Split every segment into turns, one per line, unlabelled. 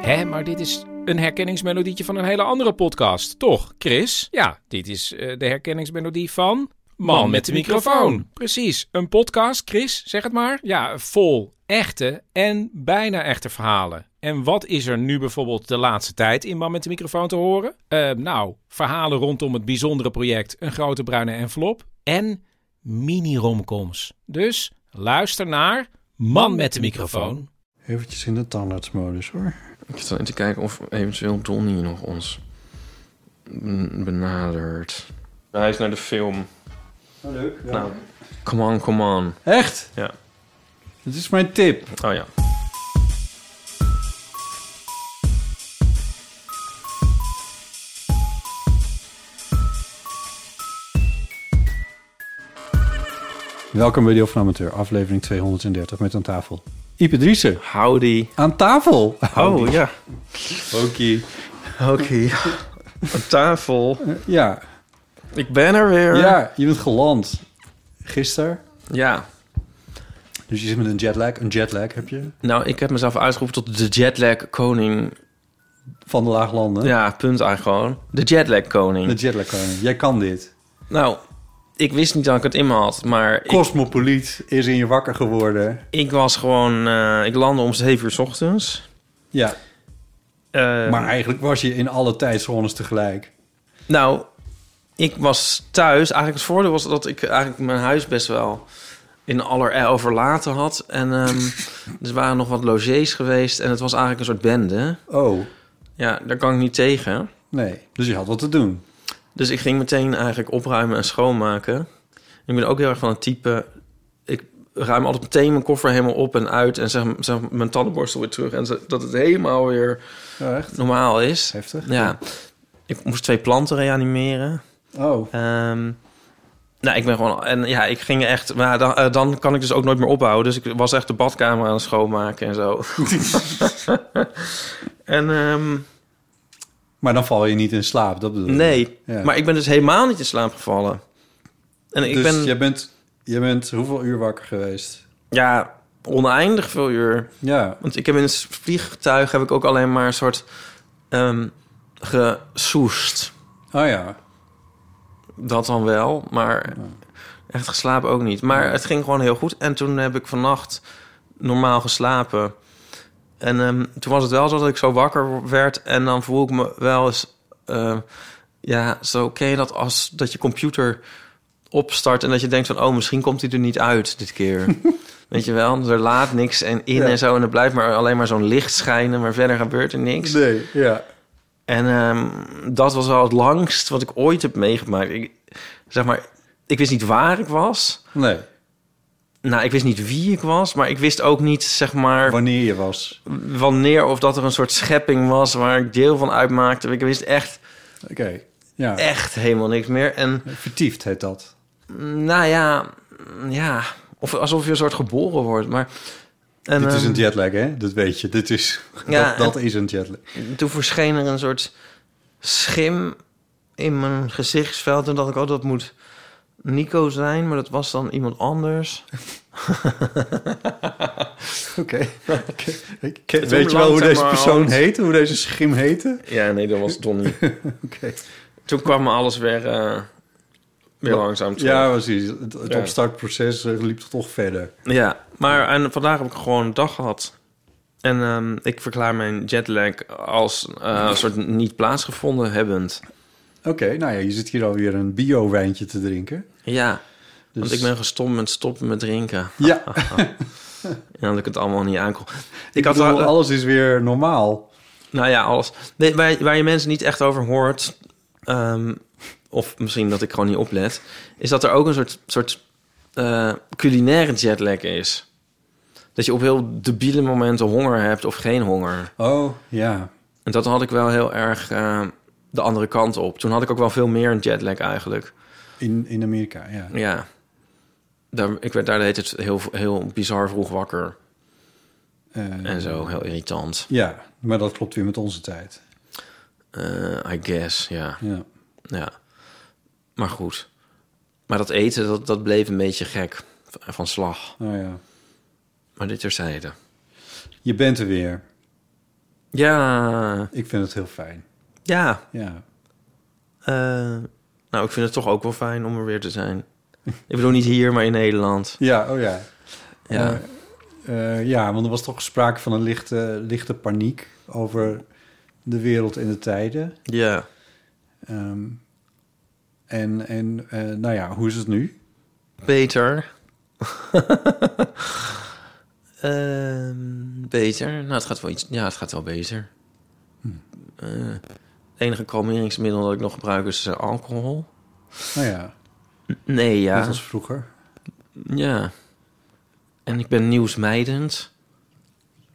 Hé, maar dit is een herkenningsmelodietje van een hele andere podcast, toch, Chris? Ja, dit is eh, de herkenningsmelodie van. Man met de microfoon. Precies, een podcast, Chris, zeg het maar. Ja, vol echte en bijna echte verhalen. En wat is er nu bijvoorbeeld de laatste tijd in Man met de microfoon te horen? Eh, nou, verhalen rondom het bijzondere project Een grote bruine envelop en mini-romcoms. Dus luister naar Man met de microfoon.
Eventjes in de tandartsmodus hoor.
Ik zit alleen te kijken of eventueel Donnie nog ons ben- benadert. Hij is naar de film.
leuk.
Nou, come on, come on.
Echt?
Ja.
Dat is mijn tip.
Oh ja.
Welkom bij Deel van Amateur, aflevering 230 met aan tafel. Ipe Driessen,
Howdy.
aan tafel!
Oh ja. Oké. Oké. Een tafel.
Ja,
Ik ben er weer.
ja, je bent geland. Gisteren.
Ja.
Dus je zit met een jetlag. Een jetlag heb je.
Nou, ik heb mezelf uitgeroepen tot de jetlag koning.
Van de laaglanden.
Ja, punt eigenlijk gewoon. De jetlag
De
koning.
jetlag koning. Jij kan dit.
Nou, ik wist niet dat ik het in me had, maar ik,
Cosmopoliet is in je wakker geworden.
ik was gewoon... eh, ik landde om 7 uur 's ochtends.
Ja,
Eh,
maar eigenlijk was je in alle tijdzones tegelijk.
Nou, ik was thuis. Eigenlijk het voordeel was dat ik eigenlijk mijn huis best wel in aller overlaten had. En ehm er waren nog wat logés geweest en het was eigenlijk een soort bende.
Oh,
Ja, daar kan ik niet tegen.
nee. Dus je had wat te doen.
Dus ik ging meteen eigenlijk opruimen en schoonmaken. Ik ben ook heel erg van het type... Ik ruim altijd meteen mijn koffer helemaal op en uit... en zeg, zeg mijn tandenborstel weer terug. En zo- dat het helemaal weer
Oh, echt?
normaal is.
Heftig.
Ja, ik moest twee planten reanimeren.
Oh,
Ehm, nou, ik ben gewoon... En ja, ik ging echt... Maar dan, eh, dan kan ik dus ook nooit meer ophouden. Dus ik was echt de badkamer aan het schoonmaken en zo. en ehm,
maar dan val je niet in slaap, dat bedoel je?
nee.
Ja.
Maar ik ben dus helemaal niet in slaap gevallen. En ik
dus
ben...
jij bent, jij bent hoeveel uur wakker geweest?
Ja, oneindig veel uur.
Ja.
Want ik heb in het vliegtuig heb ik ook alleen maar een soort... ehm gesoest.
Oh ja.
Dat dan wel, maar echt geslapen ook niet. Maar het ging gewoon heel goed. En toen heb ik vannacht normaal geslapen. En ehm, toen was het wel zo dat ik zo wakker werd. En dan voel ik me wel eens... ehm, ja, zo ken je dat als dat je computer opstart... en dat je denkt van, oh, misschien komt hij er niet uit dit keer. Weet je wel? Er laat niks en in
Ja.
en zo. En er blijft maar alleen maar zo'n licht schijnen... maar verder gebeurt er niks.
Nee, ja.
En ehm, dat was wel het langst wat ik ooit heb meegemaakt. Ik, zeg maar, ik wist niet waar ik was.
Nee,
Nou, ik wist niet wie ik was, maar ik wist ook niet, zeg maar,
wanneer je was.
wanneer of dat er een soort schepping was waar ik deel van uitmaakte. Ik wist echt,
Oké. Ja.
echt helemaal niks meer. En
Vertiefd heet dat.
nou ja, ja, of alsof je een soort geboren wordt. Maar, en,
Dit is
ehm,
een jetlag, hè? Dat weet je. Dit is,
Ja,
dat, dat is een jetlag.
toen verscheen er een soort schim in mijn gezichtsveld. En dacht ik, oh, dat moet Nico zijn. Maar dat was dan iemand anders.
Oké. Ik- ik- Weet je wel hoe
langzamerhand.
deze persoon heette? Hoe deze schim heette?
Ja, nee, dat was Donnie.
Oké.
Toen kwam alles weer, eh, weer langzaam terug.
Ja,
Ja,
precies. Het, het
Ja.
opstartproces eh, liep toch verder.
maar en vandaag heb ik gewoon een dag gehad. En ehm, ik verklaar mijn jetlag als eh, een soort niet plaatsgevonden hebbend.
Oké, nou ja, je zit hier alweer een bio-wijntje te drinken.
Ja,
Dus...
want ik ben gestopt met stoppen met drinken.
Ja,
En dat ik het allemaal niet aankom. Ik,
ik
had
bedoel,
al-
alles is weer normaal.
Nou ja, alles. Nee, waar, waar je mensen niet echt over hoort... ehm, of misschien dat ik gewoon niet oplet... is dat er ook een soort, soort eh, culinaire jetlag is. Dat je op heel debiele momenten honger hebt of geen honger.
Oh, ja.
En dat had ik wel heel erg eh, de andere kant op. Toen had ik ook wel veel meer een jetlag eigenlijk.
In, in Amerika, ja.
Ja. Daar, ik werd daar deed het heel, heel bizar vroeg wakker.
Eh,
En zo, heel irritant.
Ja, maar dat klopt weer met onze tijd.
Eh, I guess, ja.
Ja.
ja. Maar goed. Maar dat eten, dat, dat bleef een beetje gek. Van van slag.
Nou ja.
Maar dit terzijde.
Je bent er weer.
Ja.
Ik vind het heel fijn.
Ja.
Ja.
Eh, nou, ik vind het toch ook wel fijn om er weer te zijn. ik bedoel, niet hier, maar in Nederland.
Ja, oh ja.
Ja.
Eh, eh, ja, want er was toch sprake van een lichte, lichte paniek over de wereld en de tijden.
Ja.
Ehm, en en eh, nou ja, hoe is het nu?
Beter. Ehm, beter. Nou, het gaat wel iets. Ja, het gaat wel beter. Eh, het enige kalmeringsmiddel dat ik nog gebruik is eh, alcohol.
Nou ja,
Nee, ja.
net als vroeger.
Ja. En ik ben nieuwsmijdend.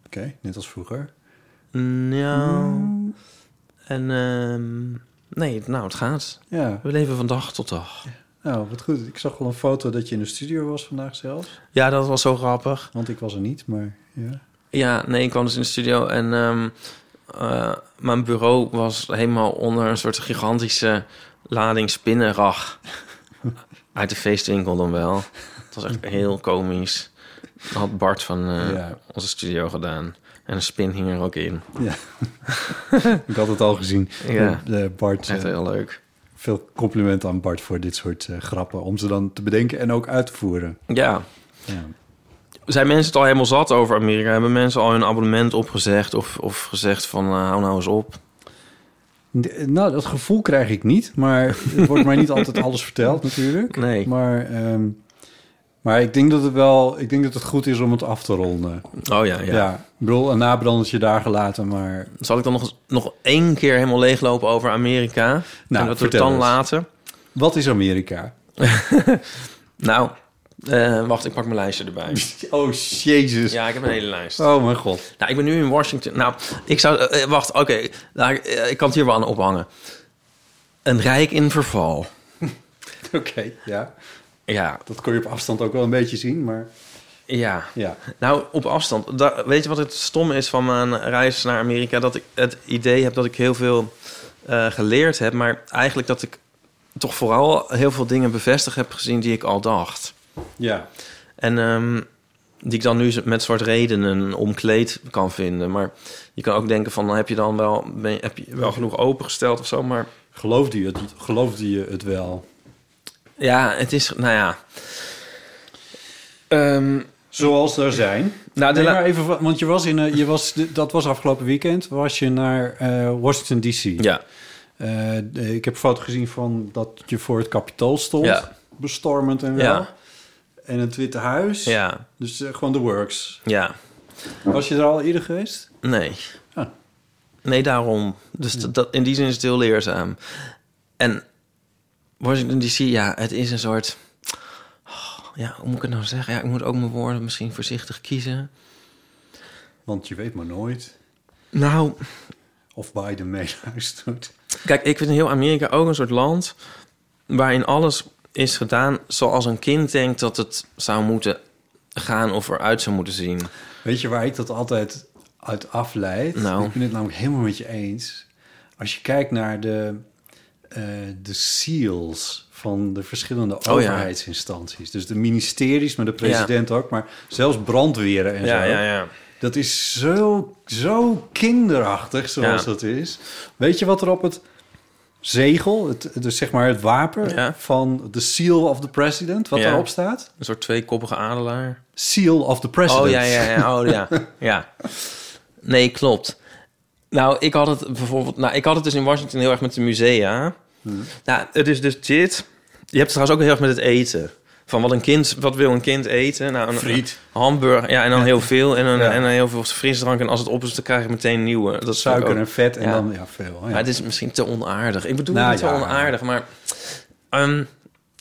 Oké, net als vroeger.
Nou. En ehm, nee, nou, het gaat.
Ja,
We leven van dag tot dag.
nou wat goed. Ik zag wel een foto dat je in de studio was vandaag zelfs.
Ja, dat was zo grappig.
Want ik was er niet, maar ja.
Ja, nee, ik kwam dus in de studio en ehm, eh, mijn bureau was helemaal onder een soort gigantische lading spinnenrag. Uit de feestwinkel dan wel. Het was echt heel komisch. Dat had Bart van eh,
Ja.
onze studio gedaan. En een spin hing er ook in.
ja. ik had het al gezien.
Ja.
De, de Bart,
Echt
eh,
heel leuk.
veel compliment aan Bart voor dit soort eh, grappen. Om ze dan te bedenken en ook uit te voeren.
Ja.
Ja.
Zijn mensen het al helemaal zat over Amerika? Hebben mensen al hun abonnement opgezegd? Of, of gezegd van eh, hou nou eens op?
De- Nou, dat gevoel krijg ik niet, maar het wordt mij niet altijd alles verteld natuurlijk.
Nee.
Maar, ehm, maar ik denk dat het wel, ik denk dat het goed is om het af te ronden.
Oh ja,
Ja,
ja.
ik bedoel, een nabrandertje daar gelaten, maar
Zal ik dan nog, nog één keer helemaal leeglopen over Amerika?
Nou,
en dat we het
vertel
dan
eens.
laten?
wat is Amerika?
Nou, eh, wacht, ik pak mijn lijstje erbij.
Oh, jezus.
Ja, ik heb een hele lijst.
Oh mijn god.
Nou, ik ben nu in Washington. Nou, ik zou... eh, wacht, oké. Nou, ik, eh, ik kan het hier wel aan ophangen. Een rijk in verval.
Oké, ja.
Ja,
Dat kon je op afstand ook wel een beetje zien, maar
ja.
ja.
Nou, op afstand. Da- weet je wat het stom is van mijn reis naar Amerika? Dat ik het idee heb dat ik heel veel eh, geleerd heb. Maar eigenlijk dat ik toch vooral heel veel dingen bevestigd heb gezien die ik al dacht.
Ja,
En ehm, die ik dan nu met soort redenen omkleed kan vinden. Maar je kan ook denken van, nou heb je dan wel, ben je- heb je wel genoeg opengesteld of zo? Maar
geloofde je het, geloofde je het wel?
ja, het is, nou ja. Ehm,
Zoals er zijn.
nou, de
Nee,
la-
maar even, wa- want je was in, eh, je was, dat was afgelopen weekend, was je naar eh, Washington D.C.
ja,
Eh, de- ik heb een foto gezien van dat je voor het kapitool stond.
Ja.
Bestormend en wel.
Ja.
En het Witte Huis.
ja,
Dus eh, gewoon de works.
ja,
Was je er al eerder geweest?
nee.
Ah.
Nee, daarom. Dus dat- dat, in die zin is het heel leerzaam. En Washington DC, ja, het is een soort... Ja, hoe moet ik het nou zeggen? Ja, ik moet ook mijn woorden misschien voorzichtig kiezen.
Want je weet maar nooit
Nou,
of Biden mee naar huis doet.
Kijk, ik vind heel Amerika ook een soort land waarin alles is gedaan zoals een kind denkt dat het zou moeten gaan of eruit zou moeten zien.
Weet je waar ik dat altijd uit afleid?
Nou.
Ik ben het namelijk helemaal met je eens. Als je kijkt naar de, eh, de seals van de verschillende
Oh ja.
overheidsinstanties. Dus de ministeries, maar de president ook. Maar zelfs brandweren en zo.
ja.
Dat is zo, zo kinderachtig zoals
Ja.
dat is. Weet je wat er op het zegel, het, dus zeg maar het wapen
Ja.
van de seal of the president, wat
Ja.
daarop staat?
Een soort tweekoppige adelaar.
Seal of the president.
Oh ja, ja, ja. Oh ja. ja. Nee, klopt. Nou, ik had het bijvoorbeeld. Nou, ik had het dus in Washington heel erg met de musea.
Hmm.
Nou, het is dus dit. Je hebt het trouwens ook heel erg met het eten. Van wat een kind, wat wil een kind eten? Nou, een
Friet.
een hamburger, ja, en dan heel veel. En dan,
Ja.
en dan heel veel frisdrank. En als het op is, dan krijg je meteen nieuwe. Dat is
Suiker
ook-
en vet en
Ja.
dan Oh ja, veel.
Maar het is misschien te onaardig. Ik bedoel
Nou,
niet te
ja.
onaardig, maar... ehm,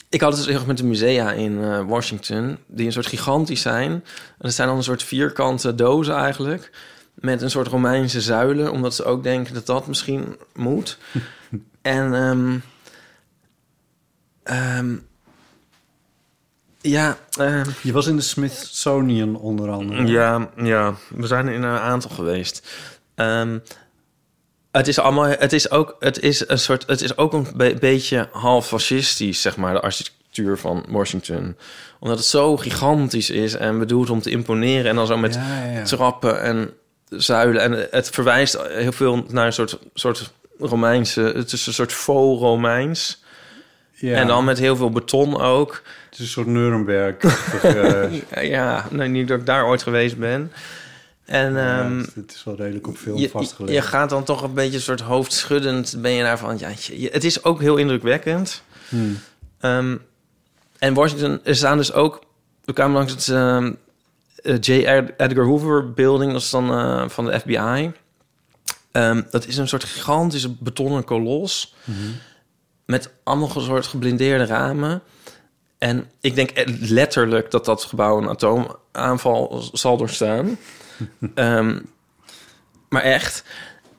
Ik had het dus heel erg met de musea in eh, Washington, die een soort gigantisch zijn. En dat zijn dan een soort vierkante dozen eigenlijk, met een soort Romeinse zuilen, omdat ze ook denken dat dat misschien moet. en ehm, ehm, ja, ehm,
Je was in de Smithsonian onder andere.
ja, ja, we zijn er in een aantal geweest. Ehm, het is allemaal, het is ook, het is een soort, het is ook een be- beetje half fascistisch, zeg maar, de architectuur van Washington, omdat het zo gigantisch is en bedoeld om te imponeren en dan zo met
Ja, ja, ja.
trappen en zuilen en het verwijst heel veel naar een soort, soort Romeinse, het is een soort faux Romeins
Ja,
en dan met heel veel beton ook.
Het is een soort Nuremberg. eh,
Ja, Ja, nee, niet dat ik daar ooit geweest ben. En ehm,
ja, het is wel redelijk op film
je,
vastgelegd.
je gaat dan toch een beetje een soort hoofdschuddend ben je daarvan. Ja, je- je- het is ook heel indrukwekkend.
Hmm.
Ehm, en Washington er staan dus ook. We kwamen langs het ehm, eh, J. Ed- Edgar Hoover Building, dat is dan eh, van de FBI. Ehm, dat is een soort gigantische betonnen kolos
Hmm.
met allemaal een soort geblindeerde ramen. En ik denk eh, letterlijk dat dat gebouw een atoomaanval z- zal doorstaan. Ehm, maar echt.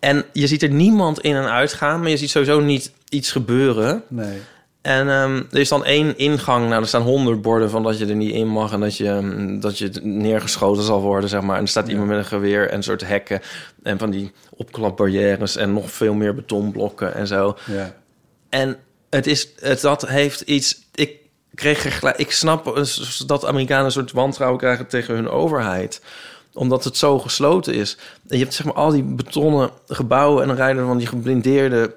En je ziet er niemand in en uitgaan, maar je ziet sowieso niet iets gebeuren.
Nee.
En ehm, er is dan één ingang. Nou, er staan honderd borden van dat je er niet in mag en dat je, ehm, dat je neergeschoten zal worden, zeg maar. En er staat iemand met een geweer en een soort hekken en van die opklapbarrières en nog veel meer betonblokken en zo.
Ja.
En het is, het, dat heeft iets. Ik kreeg er gelijk. Ik snap een s- dat Amerikanen een soort wantrouwen krijgen tegen hun overheid omdat het zo gesloten is. En je hebt zeg maar al die betonnen gebouwen... en dan rijden er van die geblindeerde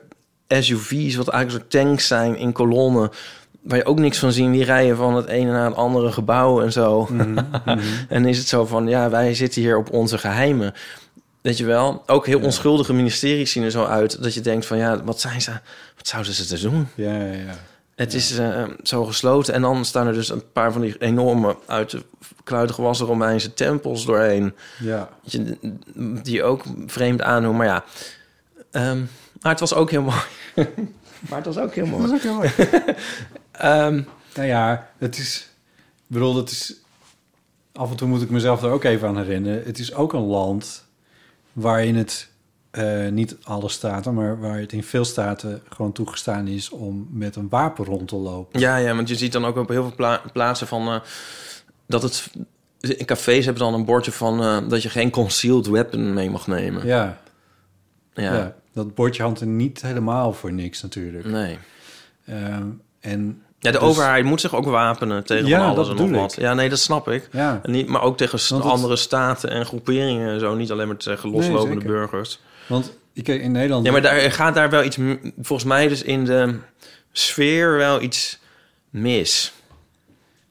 SUV's... wat eigenlijk een soort tanks zijn in kolonnen... waar je ook niks van zien. Die rijden van het ene naar het andere gebouw en zo. en is het zo van... ja, wij zitten hier op onze geheimen. Weet je wel? Ook heel onschuldige ministeries zien er zo uit... dat je denkt van ja, wat zijn ze... wat zouden ze te doen?
Ja, ja, ja.
Het is eh, zo gesloten. En dan staan er dus een paar van die enorme... uit de kluiten gewassen Romeinse tempels doorheen...
ja.
Weet je, die ook vreemd aandoen. Maar ja, Ehm, maar het was ook heel mooi. maar het was ook heel mooi.
Dat is ook heel mooi.
Ehm,
nou ja, het is... Ik bedoel, het is... Af en toe moet ik mezelf er ook even aan herinneren. Het is ook een land waarin het... eh, niet alle staten, maar waar het in veel staten gewoon toegestaan is om met een wapen rond te lopen.
ja, ja, want je ziet dan ook op heel veel pla- plaatsen van... eh, dat het... In cafés hebben dan een bordje van eh, dat je geen concealed weapon mee mag nemen.
Ja, ja.
Ja.
dat bordje hangt er niet helemaal voor niks natuurlijk.
Nee.
Ehm, en
Ja, de
Dus-
overheid moet zich ook wapenen tegen
Ja,
van alles
dat
en nog
bedoel
wat.
ik.
Ja, nee, dat snap ik.
ja,
En Niet, maar ook tegen s-
Want het-
andere staten en groeperingen en zo. Niet alleen maar tegen loslopende
zeker.
burgers.
want ik, in Nederland...
Ja, maar daar gaat daar wel iets, m- volgens mij dus in de sfeer wel iets mis.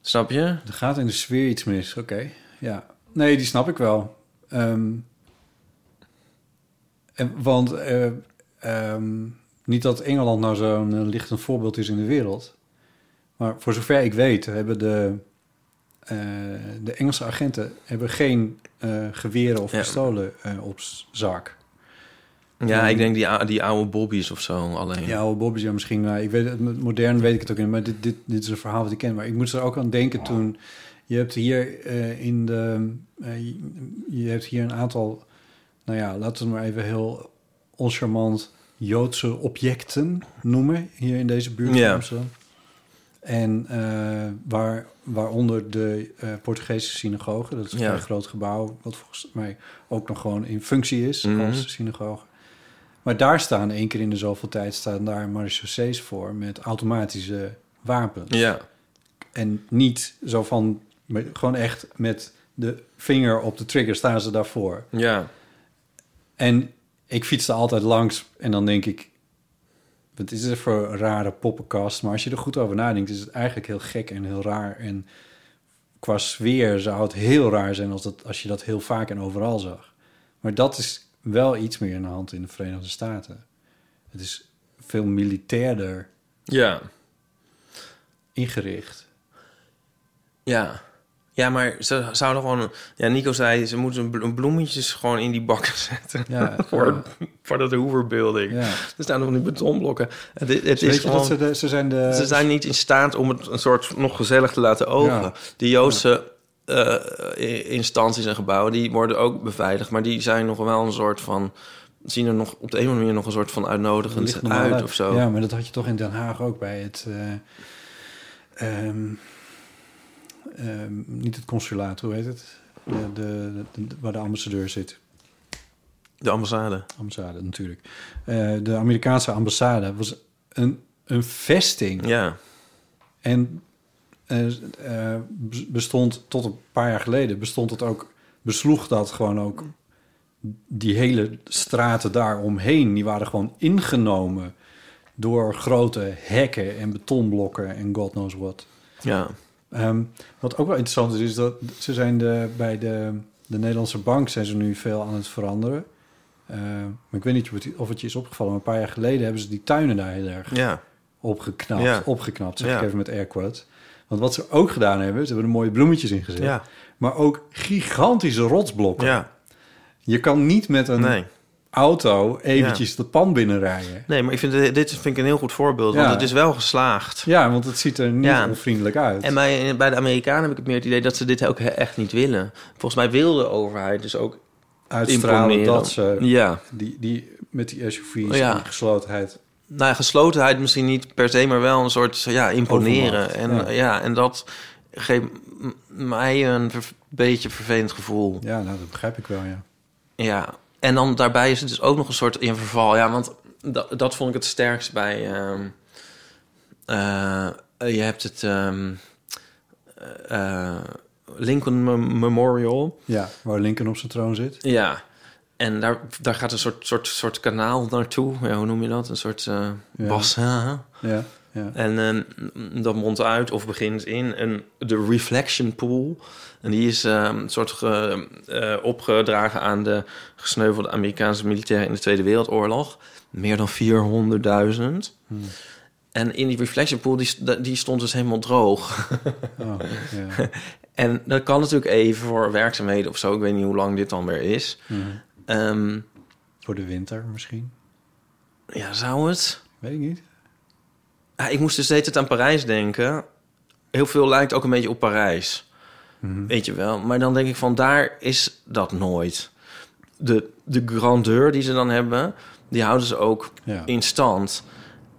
Snap je?
Er gaat in de sfeer iets mis, oké. Ja. Nee, die snap ik wel. Ehm, en, want eh, ehm, niet dat Engeland nou zo'n eh, lichtend voorbeeld is in de wereld. Maar voor zover ik weet, hebben de, eh, de Engelse agenten hebben geen eh, geweren of
Ja.
pistolen eh, op s- zak.
Ja,
Ja.
ik denk die, ou- die oude bobby's of zo alleen.
Ja, oude Bobby's, ja, misschien. Maar ik weet het, met modern weet ik het ook niet. Maar dit, dit, dit is een verhaal wat ik ken. Maar ik moest er ook aan denken toen... Je hebt hier eh, in de... eh, je- je hebt hier een aantal... Nou ja, laten we het maar even heel oncharmant Joodse objecten noemen. Hier in deze buurt
Ja.
van Amsterdam. En eh, waar, waaronder de eh, Portugese synagoge. Dat is een
Ja.
vrij groot gebouw. Wat volgens mij ook nog gewoon in functie is
Mhm.
als synagoge. Maar daar staan één keer in de zoveel tijd staan daar marechaussees voor met automatische wapens.
Ja.
En niet zo van, maar gewoon echt met de vinger op de trigger staan ze daarvoor.
Ja.
En ik fiets er altijd langs en dan denk ik, wat is dit voor een rare poppenkast? Maar als je er goed over nadenkt, is het eigenlijk heel gek en heel raar. En qua sfeer zou het heel raar zijn als, dat, als je dat heel vaak en overal zag. Maar dat is wel iets meer in de hand in de Verenigde Staten. Het is veel militairder
Ja.
ingericht.
Ja. Ja, maar ze zouden gewoon... Ja, Nico zei, ze moeten blo- bloemetjes gewoon in die bakken zetten.
Ja,
voor, voor dat Hoover Building.
Ja.
Er staan nog van die betonblokken. Het, het is
Weet je
gewoon-
dat ze, de- ze zijn de...
ze zijn niet in staat om het een soort nog gezellig te laten ogen.
Ja.
De Joodse eh, i- instanties en gebouwen, die worden ook beveiligd. Maar die zijn nog wel een soort van... zien er nog op de een of andere manier nog een soort van
ligt
uitnodigend
normaal
Dus uit of zo.
Ja, maar dat had je toch in Den Haag ook bij het... eh, ehm, ehm, niet het consulaat, hoe heet het? De, de, de- waar de ambassadeur zit.
De ambassade.
Ambassade natuurlijk. Eh, de Amerikaanse ambassade was een, een vesting.
Ja.
En eh, eh, bes- bestond tot een paar jaar geleden, bestond het ook, besloeg dat gewoon ook die hele straten daaromheen, die waren gewoon ingenomen door grote hekken en betonblokken en god knows what.
ja.
Ehm, wat ook wel interessant is, is dat ze zijn de, bij de, de Nederlandse bank zijn ze nu veel aan het veranderen. Ehm, maar ik weet niet of het- of het je is opgevallen, maar een paar jaar geleden hebben ze die tuinen daar heel erg
Ja.
opgeknapt.
Ja.
Opgeknapt, zeg
Ja.
ik even met air quotes. Want wat ze ook gedaan hebben, ze hebben er mooie bloemetjes in gezet.
Ja.
Maar ook gigantische rotsblokken.
Ja.
Je kan niet met een
Nee.
auto eventjes de pan binnenrijden.
Nee, maar ik vind, dit- dit vind ik een heel goed voorbeeld. Want
Ja.
het is wel geslaagd.
Ja, want het ziet er niet
Ja.
onvriendelijk uit.
En bij, bij de Amerikanen heb ik meer het idee dat ze dit ook he- echt niet willen. Volgens mij wil de overheid dus ook
Uitstralen
imponeren.
dat ze
Ja.
die, die, met die SUV's
Ja.
en die geslotenheid.
nou ja, geslotenheid misschien niet per se, maar wel een soort ja, imponeren.
Overmacht,
en
ja.
ja. en dat geeft m- mij een ver- beetje vervelend gevoel. Ja.
Ja, nou, dat begrijp ik wel, ja.
En dan daarbij is het dus ook nog een soort in verval. Ja, want dat, dat vond ik het sterkst bij. ehm, eh, je hebt het ehm, eh, Lincoln Mem- Memorial.
Ja, waar Lincoln op zijn troon zit.
Ja. En daar, daar gaat een soort, soort, soort kanaal naartoe. Ja, hoe noem je dat? Een soort eh
Ja.
bassin.
Ja, ja.
En eh, dat mondt uit of begint in een, de reflection pool. En die is eh, een soort ge- eh, opgedragen aan de gesneuvelde Amerikaanse militairen in de Tweede Wereldoorlog. Meer dan 400.000. En in die reflection pool, die, st- die stond dus helemaal droog.
Oh, ja.
En dat kan natuurlijk even voor werkzaamheden of zo. Ik weet niet hoe lang dit dan weer is.
Mhm.
Ehm,
Voor de winter misschien.
ja, zou het?
Weet ik niet.
Ja, ik moest dus de hele tijd aan Parijs denken. Heel veel lijkt ook een beetje op Parijs.
Mhm.
Weet je wel. Maar dan denk ik van, daar is dat nooit. De, de grandeur die ze dan hebben, die houden ze ook
Ja.
in stand.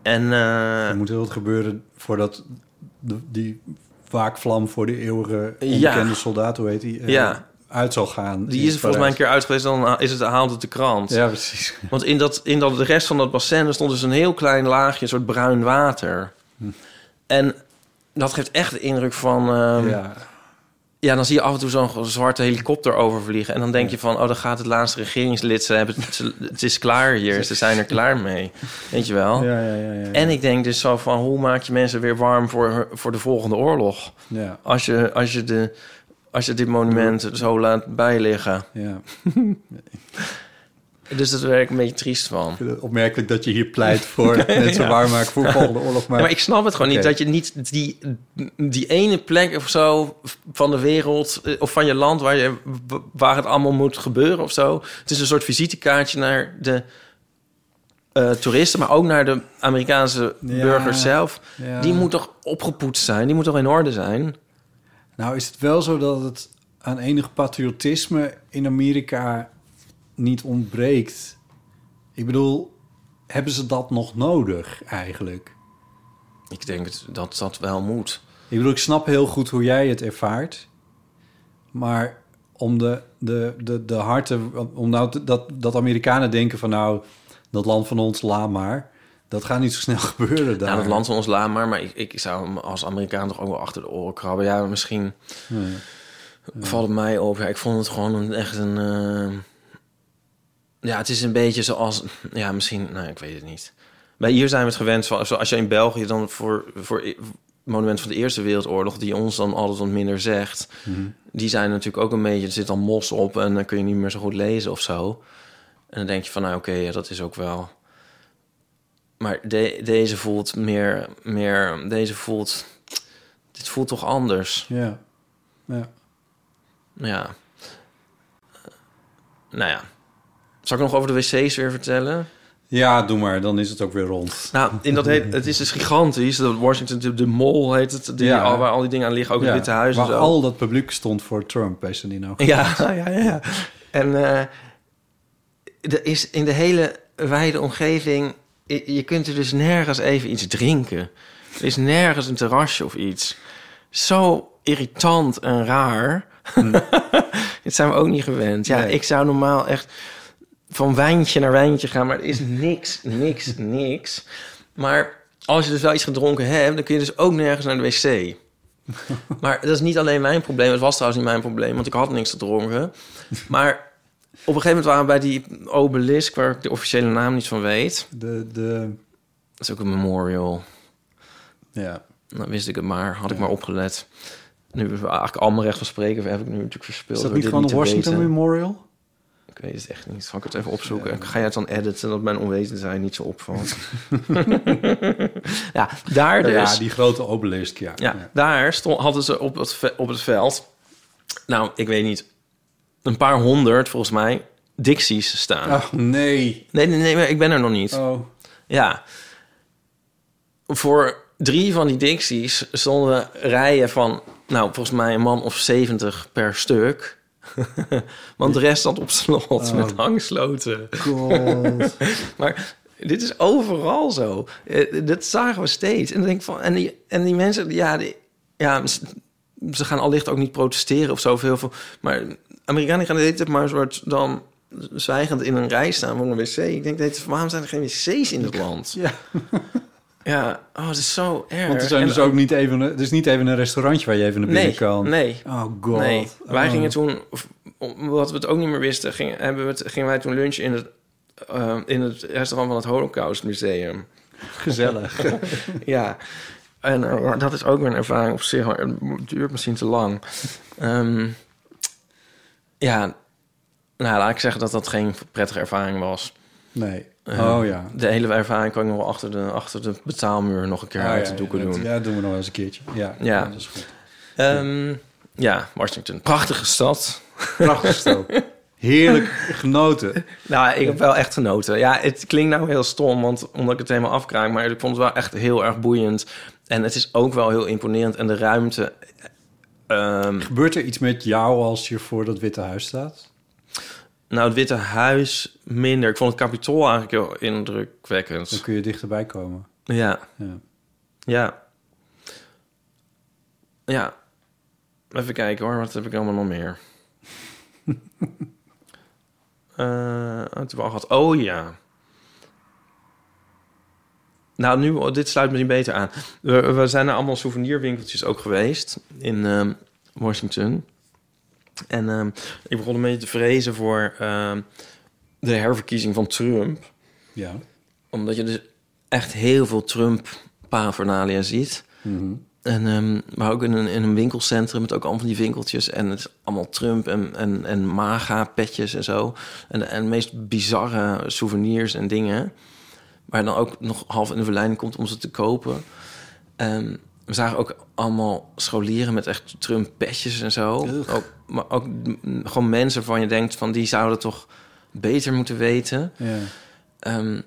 En
Er
eh,
moet heel wat gebeuren voordat de- die waakvlam voor de eeuwige onbekende
Ja.
soldaat, hoe heet die, eh,
Ja.
uit zal gaan.
die
in
is er volgens mij een
Parijs.
keer uit geweest, dan is het, haalt het de krant.
Ja, precies.
Want in, dat, in dat, de rest van dat bassin er stond dus een heel klein laagje, een soort bruin water.
Hm.
En dat geeft echt de indruk van... ehm,
ja.
Ja, dan zie je af en toe zo'n zwarte helikopter overvliegen. En dan denk je van, oh, dan gaat het laatste regeringslid. Ze hebben het, ze- het is klaar hier. Ze zijn er klaar mee. Weet je wel?
Ja, ja, ja, ja, ja.
En ik denk dus zo van, hoe maak je mensen weer warm voor, voor de volgende oorlog?
Ja,
Als je, als je, de, als je dit monument zo laat bijliggen.
ja.
Dus dat werk een beetje triest van.
Ik vind het opmerkelijk dat je hier pleit voor mensen waarmaken voor volgende oorlog. Maar,
Ja, maar ik snap het gewoon
Oké.
niet. Dat je niet die, die ene plek of zo van de wereld... eh, of van je land waar, je, waar het allemaal moet gebeuren of zo. Het is een soort visitekaartje naar de eh, toeristen... maar ook naar de Amerikaanse
Ja,
burgers zelf.
ja.
Die moet toch opgepoetst zijn? Die moet toch in orde zijn?
Nou is het wel zo dat het aan enig patriotisme in Amerika niet ontbreekt. Ik bedoel, hebben ze dat nog nodig eigenlijk?
Ik denk het- dat dat wel moet.
Ik bedoel, ik snap heel goed hoe jij het ervaart. Maar om de, de, de, de harten... Om nou te- dat, dat Amerikanen denken van nou, dat land van ons, laat maar. Dat gaat niet zo snel gebeuren daar.
Ja, Nou, dat land van ons laat maar. Maar ik, ik zou hem als Amerikaan toch ook wel achter de oren krabben. Ja, misschien valt het mij op. Ja, ik vond het gewoon een, echt een... eh, Ja, het is een beetje zoals... Ja, misschien... Nou, ik weet het niet. Maar hier zijn we het gewend van... Als je in België dan voor... voor i- monument van de Eerste Wereldoorlog... die ons dan altijd wat minder zegt... die zijn natuurlijk ook een beetje... Er zit dan mos op en dan kun je niet meer zo goed lezen of zo. En dan denk je van... Nou, oké, ja, dat is ook wel... Maar de- deze voelt meer, meer. Deze voelt. Dit voelt toch anders.
Ja. ja.
Ja. Nou ja. Zal ik nog over de wc's weer vertellen?
Ja, doe maar. Dan is het ook weer rond.
Nou, in dat heet, het is dus gigantisch. De Washington, de, de Mall heet het. Die,
Ja.
al, waar al die dingen aan liggen. Ook
Ja,
het Witte Huis
Waar
en zo.
al dat publiek stond voor Trump, weet je die nou?
Ja, ja, ja. ja. En eh, er is in de hele wijde omgeving... i- Je kunt er dus nergens even iets drinken. Er is nergens een terrasje of iets. Zo irritant en raar. Dit zijn we ook niet gewend. Ja,
Nee.
ik zou normaal echt van wijntje naar wijntje gaan, maar er is niks, niks, niks. Maar als je dus wel iets gedronken hebt, dan kun je dus ook nergens naar de wc. Maar dat is niet alleen mijn probleem. Het was trouwens niet mijn probleem, want ik had niks gedronken. Maar op een gegeven moment waren we bij die obelisk, waar ik de officiële naam niet van weet.
De, de,
Dat is ook een memorial.
ja.
Dan wist ik het maar, had ik maar opgelet. Nu hebben we eigenlijk allemaal recht van spreken, heb ik nu natuurlijk verspild.
Is dat
door
niet
dit
gewoon de
te
Washington
weten.
Memorial?
Ik weet het echt niet. Zal ik het even opzoeken? Ga jij het dan editen dat mijn onwezendheid niet zo opvalt? ja, daar dus.
Ja, die grote obelisk, ja.
Ja, daar stond, hadden ze op het, ve- op het veld, nou, ik weet niet, een paar honderd volgens mij, Dixies staan.
Ach, Oh, nee.
Nee, nee, nee, maar ik ben er nog niet.
Oh.
Ja. Voor drie van die Dixies stonden rijen van, nou, volgens mij een man of 70 per stuk. Want de rest zat op slot met hangsloten.
Oh. God.
Maar dit is overal zo. Eh, dat zagen we steeds. En, dan denk ik van, en, die, en die mensen, ja, die, ja, s- ze gaan allicht ook niet protesteren of zoveel. Van, maar Amerikanen gaan de hele tijd maar een soort dan zwijgend in een rij staan voor een wc. Ik denk, de hele tijd van, waarom zijn er geen wc's in dit land?
ja.
Ja, oh, dat is zo erg.
Want er, zijn
En-
dus ook niet even, een- er is niet even een restaurantje waar je even naar binnen
Nee,
kan.
nee.
Oh god.
Nee, wij
Oh.
gingen toen, of- omdat we het ook niet meer wisten, gingen, hebben we het, gingen wij toen lunchen in het, eh, in het restaurant van het Holocaust Museum.
Gezellig.
Ja, en eh, maar dat is ook weer een ervaring op zich. maar Het duurt misschien te lang. Ehm, ja, nou laat ik zeggen dat dat geen prettige ervaring was.
Nee.
Eh,
oh ja.
De hele ervaring kan ik nog wel achter de, achter de betaalmuur nog een keer
Ah,
uit de doeken
ja, dat-
doen.
Ja, dat doen we nog wel eens een keertje. Ja,
Ja.
dat is goed.
Ehm, ja, Washington. Prachtige stad.
Prachtig stel. Heerlijk genoten.
Nou, ik heb wel echt genoten. Ja, het klinkt nou heel stom, want omdat ik het helemaal afkraak, maar ik vond het wel echt heel erg boeiend. En het is ook wel heel imponerend. En de ruimte. ehm,
Gebeurt er iets met jou als je voor dat Witte Huis staat?
nou, het Witte Huis minder. Ik vond het kapitool eigenlijk heel
Dan
indrukwekkend.
kun je dichterbij komen.
Ja,
Ja.
ja. Ja. Even kijken hoor, wat heb ik allemaal nog meer? Eh, het hebben we al gehad. Oh ja. Nou, nu, dit sluit misschien beter aan. We, we zijn naar allemaal souvenirwinkeltjes ook geweest in ehm, Washington. En ehm, ik begon een beetje te vrezen voor ehm, de herverkiezing van Trump
ja.
omdat je dus echt heel veel Trump-pavernalia ziet. En, ehm, maar ook in een, in een winkelcentrum met ook allemaal van die winkeltjes. En het is allemaal Trump en, en, en MAGA-petjes en zo. En, en de meest bizarre souvenirs en dingen. Waar dan ook nog half in de verleiding komt om ze te kopen. Ehm, we zagen ook allemaal scholieren met echt Trump-petjes en zo.
Ugh.
Ook, maar ook mm, gewoon mensen van je denkt van die zouden toch beter moeten weten.
ja.
Ehm,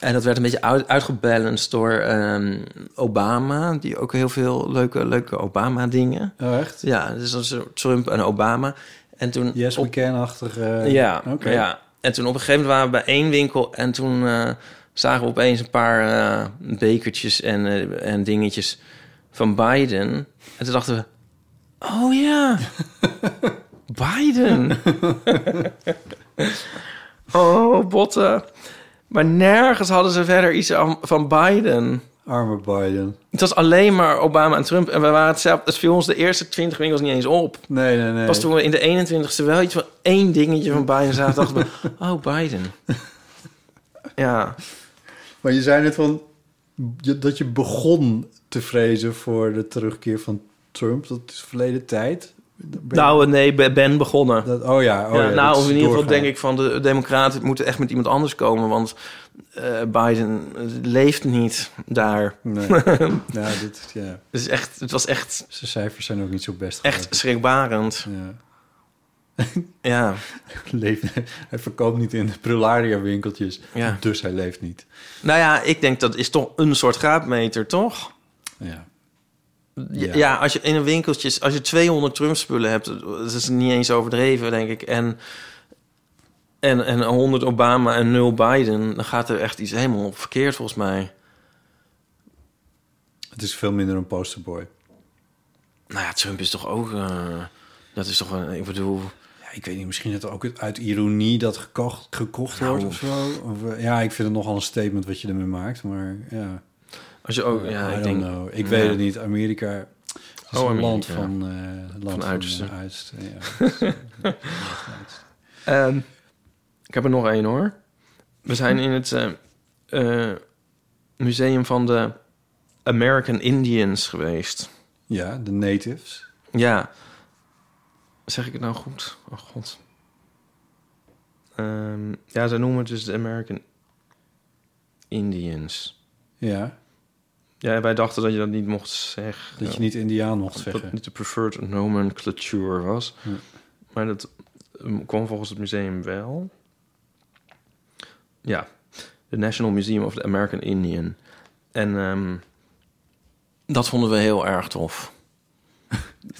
en dat werd een beetje uit, uitgebalanced door ehm, Obama, die ook heel veel leuke, leuke Obama-dingen.
Oh, echt?
Ja, dus dat is Trump en Obama. En toen
Yes,
op-
we can-achtige... eh,
ja,
Oké.
ja. En toen op een gegeven moment waren we bij één winkel en toen eh, zagen we opeens een paar eh, bekertjes en, eh, en dingetjes van Biden. En toen dachten we, oh ja, Biden. oh, botten. Maar nergens hadden ze verder iets aan- van Biden.
Arme Biden.
Het was alleen maar Obama en Trump. En we waren het zelf, het viel ons de eerste 20 winkels niet eens op.
Nee, nee, nee.
Pas toen we in de 21ste wel iets van één dingetje van Biden zaten, dachten we, oh Biden. Ja,
Maar je zei net van je- dat je begon te vrezen voor de terugkeer van Trump. Dat is verleden tijd. Ben je-
nou nee, ben- ben begonnen.
dat, oh ja, oh
ja,
ja,
nou,
dat
of
is
in ieder geval
doorgaan.
denk ik van de democraten moeten echt met iemand anders komen, want eh, Biden leeft niet daar.
Nee. nou, dit, ja.
Het, is echt, het was echt,
Zijn cijfers zijn ook niet zo best.
echt schrikbarend.
geworden. Ja.
Ja,
Leeft, hij verkoopt niet in de prularia winkeltjes,
Ja.
dus hij leeft niet.
nou ja, ik denk dat is toch een soort graadmeter, toch?
Ja.
Ja,
Ja.
ja, als je in een winkeltje, als je 200 Trump-spullen hebt, dat is niet eens overdreven, denk ik. En, en, en 100 Obama en 0 Biden, dan gaat er echt iets helemaal verkeerd volgens mij.
Het is veel minder een posterboy.
Nou ja, Trump is toch ook. eh, dat is toch een. Ik bedoel.
Ja, ik weet niet, misschien dat ook uit ironie dat gekocht, gekocht
Nou,
wordt of zo. Of, eh, ja, ik vind het nogal een statement wat je ermee maakt, maar ja.
Als je ook.
I
Ja, ik
don't
denk.
know. Ik
ja.
weet het niet. Amerika is
Oh,
een
Amerika.
land van, eh land van
uitersten.
eh, uitersten, ja.
Ehm, ik heb er nog één hoor. We zijn in het eh, eh, museum van de American Indians geweest.
ja, de natives.
Ja. Zeg ik het nou goed? Oh god. Ehm, ja, ze noemen het dus de American Indians.
Ja,
Ja, wij dachten dat je dat niet mocht zeggen.
dat je niet Indiaan mocht
dat het
zeggen.
niet de preferred nomenclature was. Maar dat um, kwam volgens het museum wel. Ja, de National Museum of the American Indian. En ehm, dat vonden we heel erg tof.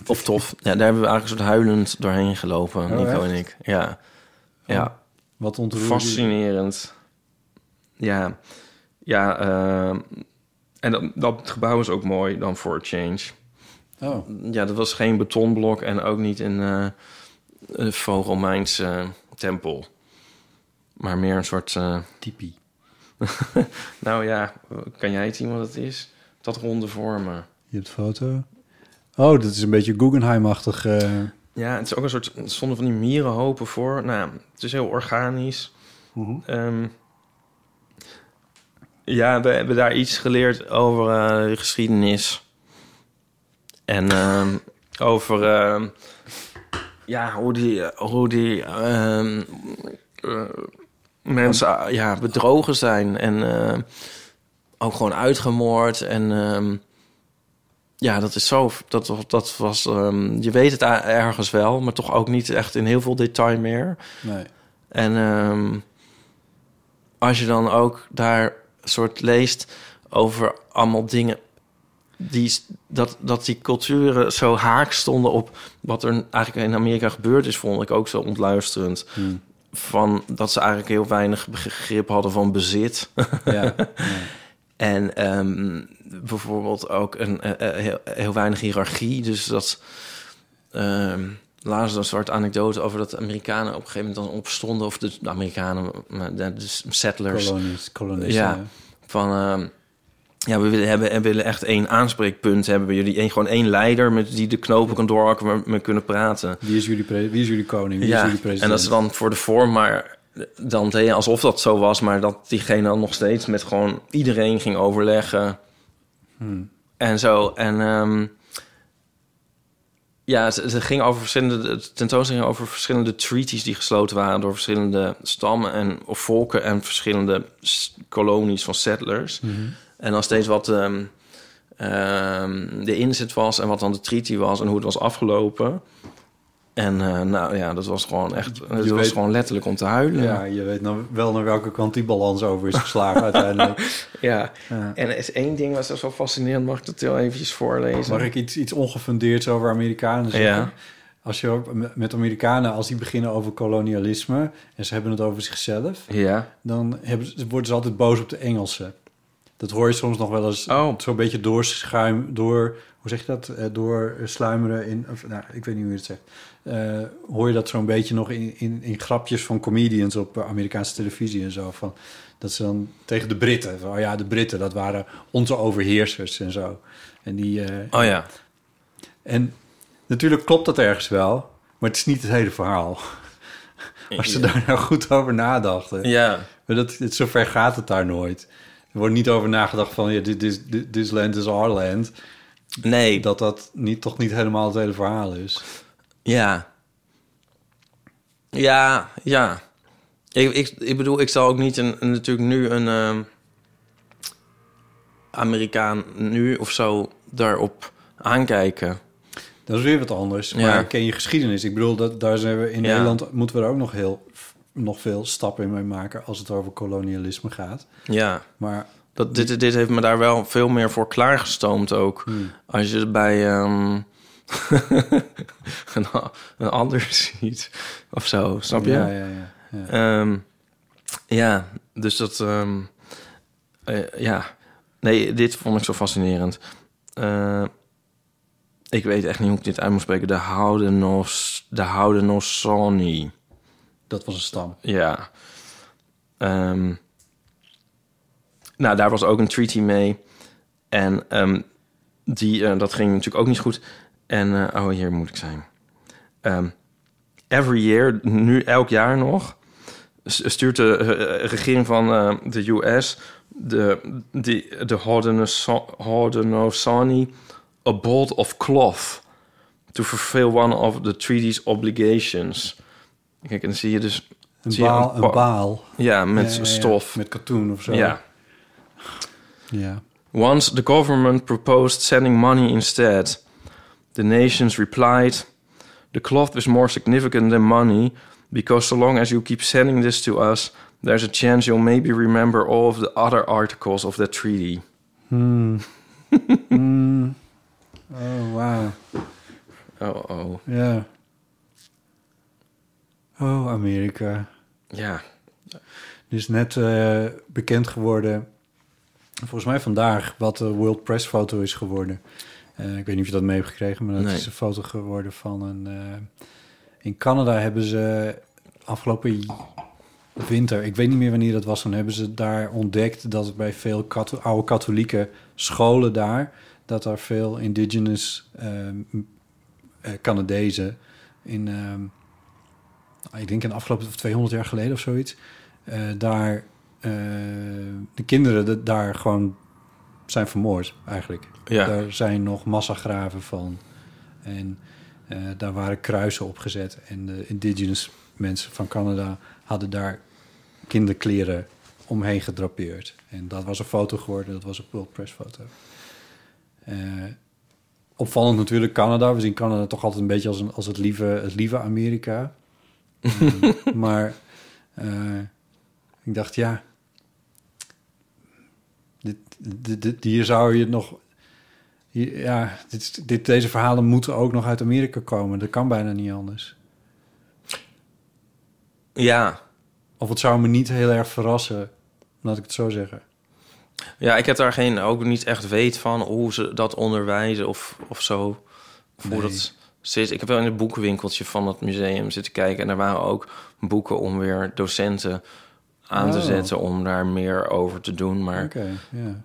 of tof. Ja, daar hebben we eigenlijk een soort huilend doorheen gelopen,
Oh,
Nico en
echt?
ik. Ja, ja
Wat ontroerde je?
fascinerend. Ja, ja. eh, en dat, dat gebouw is ook mooi dan voor a change
Oh,
ja, dat was geen betonblok en ook niet een eh eh, Vogelmijnse eh, tempel. Maar meer een soort... eh,
tipi.
nou ja, kan jij het zien wat het is? Dat ronde vormen.
Je hebt foto. Oh, dat is een beetje Guggenheim-achtig. eh,
Ja, het is ook een soort... Er stonden van die mierenhopen voor. Nou, het is heel organisch. Ehm, ja, we hebben daar iets geleerd over eh, de geschiedenis. En ehm, over ehm, ja, hoe die, hoe die ehm, eh, mensen ah, ja, bedrogen zijn. En ehm, ook gewoon uitgemoord. En ehm, ja, dat is zo. Dat, dat was, ehm, je weet het a- ergens wel, maar toch ook niet echt in heel veel detail meer.
nee.
En ehm, als je dan ook daar soort leest over allemaal dingen die dat, dat die culturen zo haak stonden op wat er eigenlijk in Amerika gebeurd is, vond ik ook zo ontluisterend. Van dat ze eigenlijk heel weinig begrip hadden van bezit.
Ja,
En ehm, bijvoorbeeld ook een, eh, eh, heel, heel weinig hiërarchie. Dus dat. ehm laatst een soort anekdote over dat de Amerikanen op een gegeven moment dan opstonden. Of de Amerikanen, maar de, de settlers.
kolonies, eh. kolonisten.
Ja,
Ja.
van... ehm, ja, we willen, hebben, en willen echt één aanspreekpunt hebben. bij Jullie één, gewoon één leider met die de knopen kan doorhakken... waar we mee kunnen praten.
Wie, is jullie pre- wie is jullie koning? Wie is
Ja,
jullie president?
en dat is dan voor de vorm, maar dan deed je alsof dat zo was, maar dat diegene dan nog steeds met gewoon iedereen ging overleggen. En zo. En ehm, ja, ze, ze ging over verschillende, de tentoonstelling ging over verschillende treaties die gesloten waren door verschillende stammen en of volken en verschillende s- kolonies van settlers. En dan steeds wat ehm, ehm, de inzet was en wat dan de treaty was en hoe het was afgelopen. En eh, nou ja, dat was gewoon echt, dat was
weet-
gewoon letterlijk om te huilen.
Ja, je weet nou wel naar welke kant die balans over is geslagen uiteindelijk.
Ja. En er is één ding wat zo fascinerend, mag ik dat heel eventjes voorlezen?
Mag ik iets, iets ongefundeerds over Amerikanen zeggen?
Ja.
Als je op- met Amerikanen, als die beginnen over kolonialisme en ze hebben het over zichzelf,
Ja.
dan hebben, ze- worden ze altijd boos op de Engelsen. Dat hoor je soms nog wel eens
Oh.
zo'n beetje doorschuim, door, hoe zeg je dat? Eh, door sluimeren in, of, nou, ik weet niet hoe je het zegt. Eh, hoor je dat zo'n beetje nog in, in, in grapjes van comedians op eh, Amerikaanse televisie en zo. Van, dat ze dan tegen de Britten, van, oh ja, de Britten, dat waren onze overheersers en zo. En die, eh,
Oh ja.
en natuurlijk klopt dat ergens wel, maar het is niet het hele verhaal. Als ze daar nou goed over nadachten.
Ja.
Maar dat, het, zover gaat het daar nooit. Er wordt niet over nagedacht van, ja, dit is dit this land is our land.
Nee.
Dat dat niet, toch niet helemaal het hele verhaal is.
Ja. Ja, ja. Ik, ik, ik bedoel, ik zal ook niet een, een- natuurlijk nu een ehm, Amerikaan nu of zo daarop aankijken.
Dat is weer wat anders.
Ja.
Maar ik ken je geschiedenis. Ik bedoel, dat, daar zijn we in
Ja.
Nederland moeten we er ook nog heel nog veel stappen in mee maken als het over kolonialisme gaat.
Ja,
Maar
dat, dit, dit heeft me daar wel veel meer voor klaargestoomd ook. Als je het bij ehm, een, a- een ander ziet of zo, snap je?
ja, ja, ja, ja.
Ehm, ja, dus dat... ehm, eh, ja, nee, dit vond ik zo fascinerend. Eh, ik weet echt niet hoe ik dit uit moet spreken. De Houdenos... De Houdenosani.
Dat was een stam.
Ja. Ehm, nou, daar was ook een treaty mee. En ehm, die, eh, dat ging natuurlijk ook niet goed. En, eh, oh, hier moet ik zijn. Ehm, every year, nu elk jaar nog, s- stuurt de eh, regering van eh, de US de, de, de Haudenosa- Haudenosaunee a bolt of cloth to fulfill one of the treaty's obligations. Kijk, en dan zie je dus...
Een
zie je
baal,
pa-
een baal.
Ja, met
Ja, ja, ja.
stof.
Met katoen of zo.
Ja.
ja.
Once the government proposed sending money instead, the nations replied, The cloth is more significant than money, because so long as you keep sending this to us, there's a chance you'll maybe remember all of the other articles of that treaty.
Oh, wauw.
Oh, oh.
Ja. Oh, Amerika.
Ja.
Er is net eh, bekend geworden, volgens mij vandaag, wat de World Press foto is geworden. Eh, ik weet niet of je dat mee hebt gekregen, maar dat
Nee.
is een foto geworden van een... eh, in Canada hebben ze afgelopen j- winter, ik weet niet meer wanneer dat was... dan hebben ze daar ontdekt dat bij veel katho- oude katholieke scholen daar... dat er veel indigenous eh, m- eh, Canadezen in... ehm, ik denk in de afgelopen of 200 jaar geleden of zoiets, eh, daar eh, de kinderen de- daar gewoon zijn vermoord eigenlijk.
Ja.
Daar zijn nog massagraven van. En eh, daar waren kruisen opgezet. En de indigenous mensen van Canada hadden daar kinderkleren omheen gedrapeerd. En dat was een foto geworden, dat was een World Press foto. Eh, opvallend natuurlijk Canada. We zien Canada toch altijd een beetje als, een, als het, lieve, het lieve Amerika. Ehm, maar eh, ik dacht, ja... Dit, dit, dit- hier zou je het nog... hier- Ja, dit, is- dit, deze verhalen moeten ook nog uit Amerika komen. Dat kan bijna niet anders.
Ja.
Of het zou me niet heel erg verrassen, laat ik het zo zeggen.
Ja, ik heb daar geen, ook niet echt weet van hoe ze dat onderwijzen of, of zo. Of hoe
Nee.
dat zit. Ik heb wel in het boekenwinkeltje van het museum zitten kijken. En er waren ook boeken om weer docenten aan te
Oh.
zetten om daar meer over te doen. Maar
Oké, ja.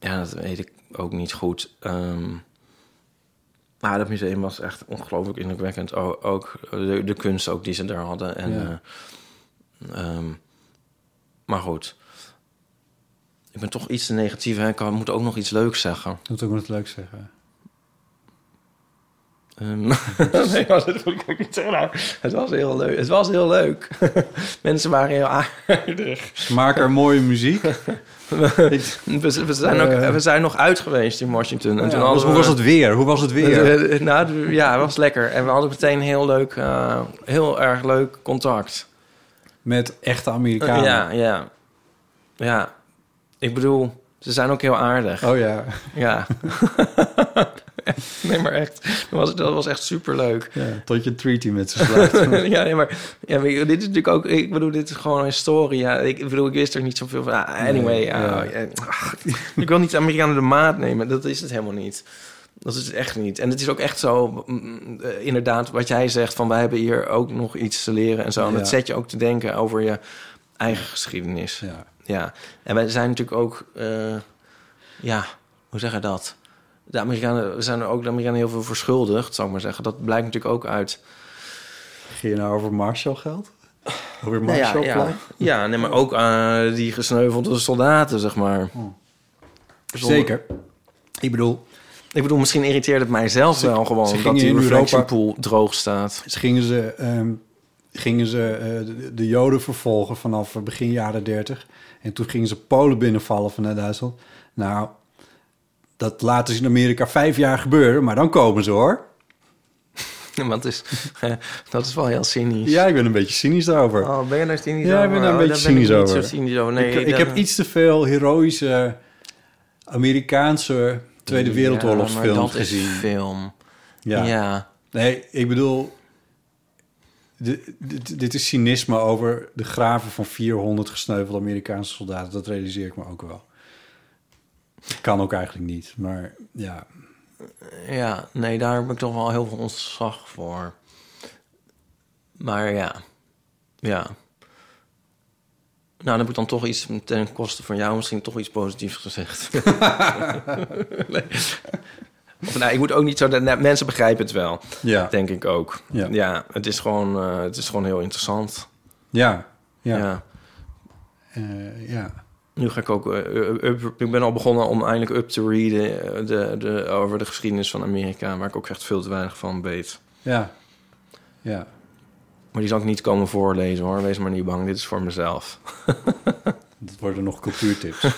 ja, dat weet ik ook niet goed. Ehm, maar dat museum was echt ongelooflijk indrukwekkend. O- ook de, de kunst ook die ze daar hadden. En,
Ja.
eh, ehm, maar goed. Ik ben toch iets te negatief. Hè? Ik kan- moet ook nog iets leuks zeggen.
Dat moet ook wat leuk zeggen.
Ehm, nee, maar dat wil ik ook niet zeggen. Nou, het was heel leuk. Het was heel leuk. Mensen waren heel aardig.
Ze maken er mooie muziek.
We, we zijn ook, we zijn nog uit geweest in Washington. En
Ja,
toen
dus
hadden
hoe
we-
was het weer? Hoe was het weer?
Eh, eh, Nou, d- ja, het was lekker. En we hadden meteen heel leuk, eh, heel erg leuk contact.
Met echte Amerikanen.
ja, ja. Ja. Ik bedoel, ze zijn ook heel aardig.
Oh ja.
Ja. nee, maar echt. Dat was, dat was echt superleuk.
ja. Tot je een treaty met ze slaat.
ja, nee, maar, ja, maar dit is natuurlijk ook... Ik bedoel, dit is gewoon een historie. Ja, ik bedoel, ik wist er niet zoveel van. Ah, anyway,
Nee,
ja,
ja.
ja, ach, ik wil niet de Amerikanen de maat nemen. Dat is het helemaal niet. Dat is het echt niet. En het is ook echt zo, mm, eh, inderdaad, wat jij zegt... van wij hebben hier ook nog iets te leren en zo. En dat
Ja.
zet je ook te denken over je eigen geschiedenis. Ja.
ja.
En wij zijn natuurlijk ook... eh, ja, hoe zeg je dat? De Amerikanen we zijn er ook de Amerikanen heel veel verschuldigd, zou ik maar zeggen. Dat blijkt natuurlijk ook uit...
Ging je nou over Marshall geld? Over
Nou
Marshall
ja, ja. ja nee, maar ook eh, die gesneuvelde soldaten, zeg maar.
Oh. Zeker. Ik bedoel,
Ik bedoel, misschien irriteert het mijzelf wel gewoon...
gingen
dat die
in
reflection
Europa-
pool droog staat.
ze gingen ze, ehm, gingen ze eh, de, de Joden vervolgen vanaf begin jaren 30. En toen gingen ze Polen binnenvallen vanuit Duitsland. Nou, dat laten ze in Amerika vijf jaar gebeuren, maar dan komen ze hoor.
Want het is, eh, dat is wel heel cynisch.
Ja, ik ben een beetje cynisch daarover.
Oh, ben je daar cynisch
Ja,
over?
ik ben daar een
Oh,
beetje
daar ben ik
cynisch
Niet
over.
zo cynisch over. Nee,
ik, ik
dan-
heb iets te veel heroïsche Amerikaanse Tweede
ja, maar
Wereldoorlogsfilms
dat is
gezien.
film.
ja.
Ja.
Nee, ik bedoel... Dit, dit, dit is cynisme over de graven van 400 gesneuvelde Amerikaanse soldaten. Dat realiseer ik me ook wel. Kan ook eigenlijk niet, maar ja.
ja, nee, daar heb ik toch wel heel veel ontzag voor. Maar ja, ja. Nou, dan heb ik dan toch iets ten koste van jou misschien toch iets positiefs gezegd. nee. Of, nou, ik moet ook niet zo... nou, mensen begrijpen het wel,
Ja,
denk ik ook.
Ja.
Ja, het, is gewoon, eh, het is gewoon heel interessant.
ja, ja.
Ja.
Ja. Eh, ja.
Nu ga ik ook... eh, up- ik ben al begonnen om eindelijk up te readen eh, de, de, over de geschiedenis van Amerika... waar ik ook echt veel te weinig van weet.
ja. ja.
Maar die zal ik niet komen voorlezen hoor. Wees maar niet bang, dit is voor mezelf.
Dat worden nog cultuurtips.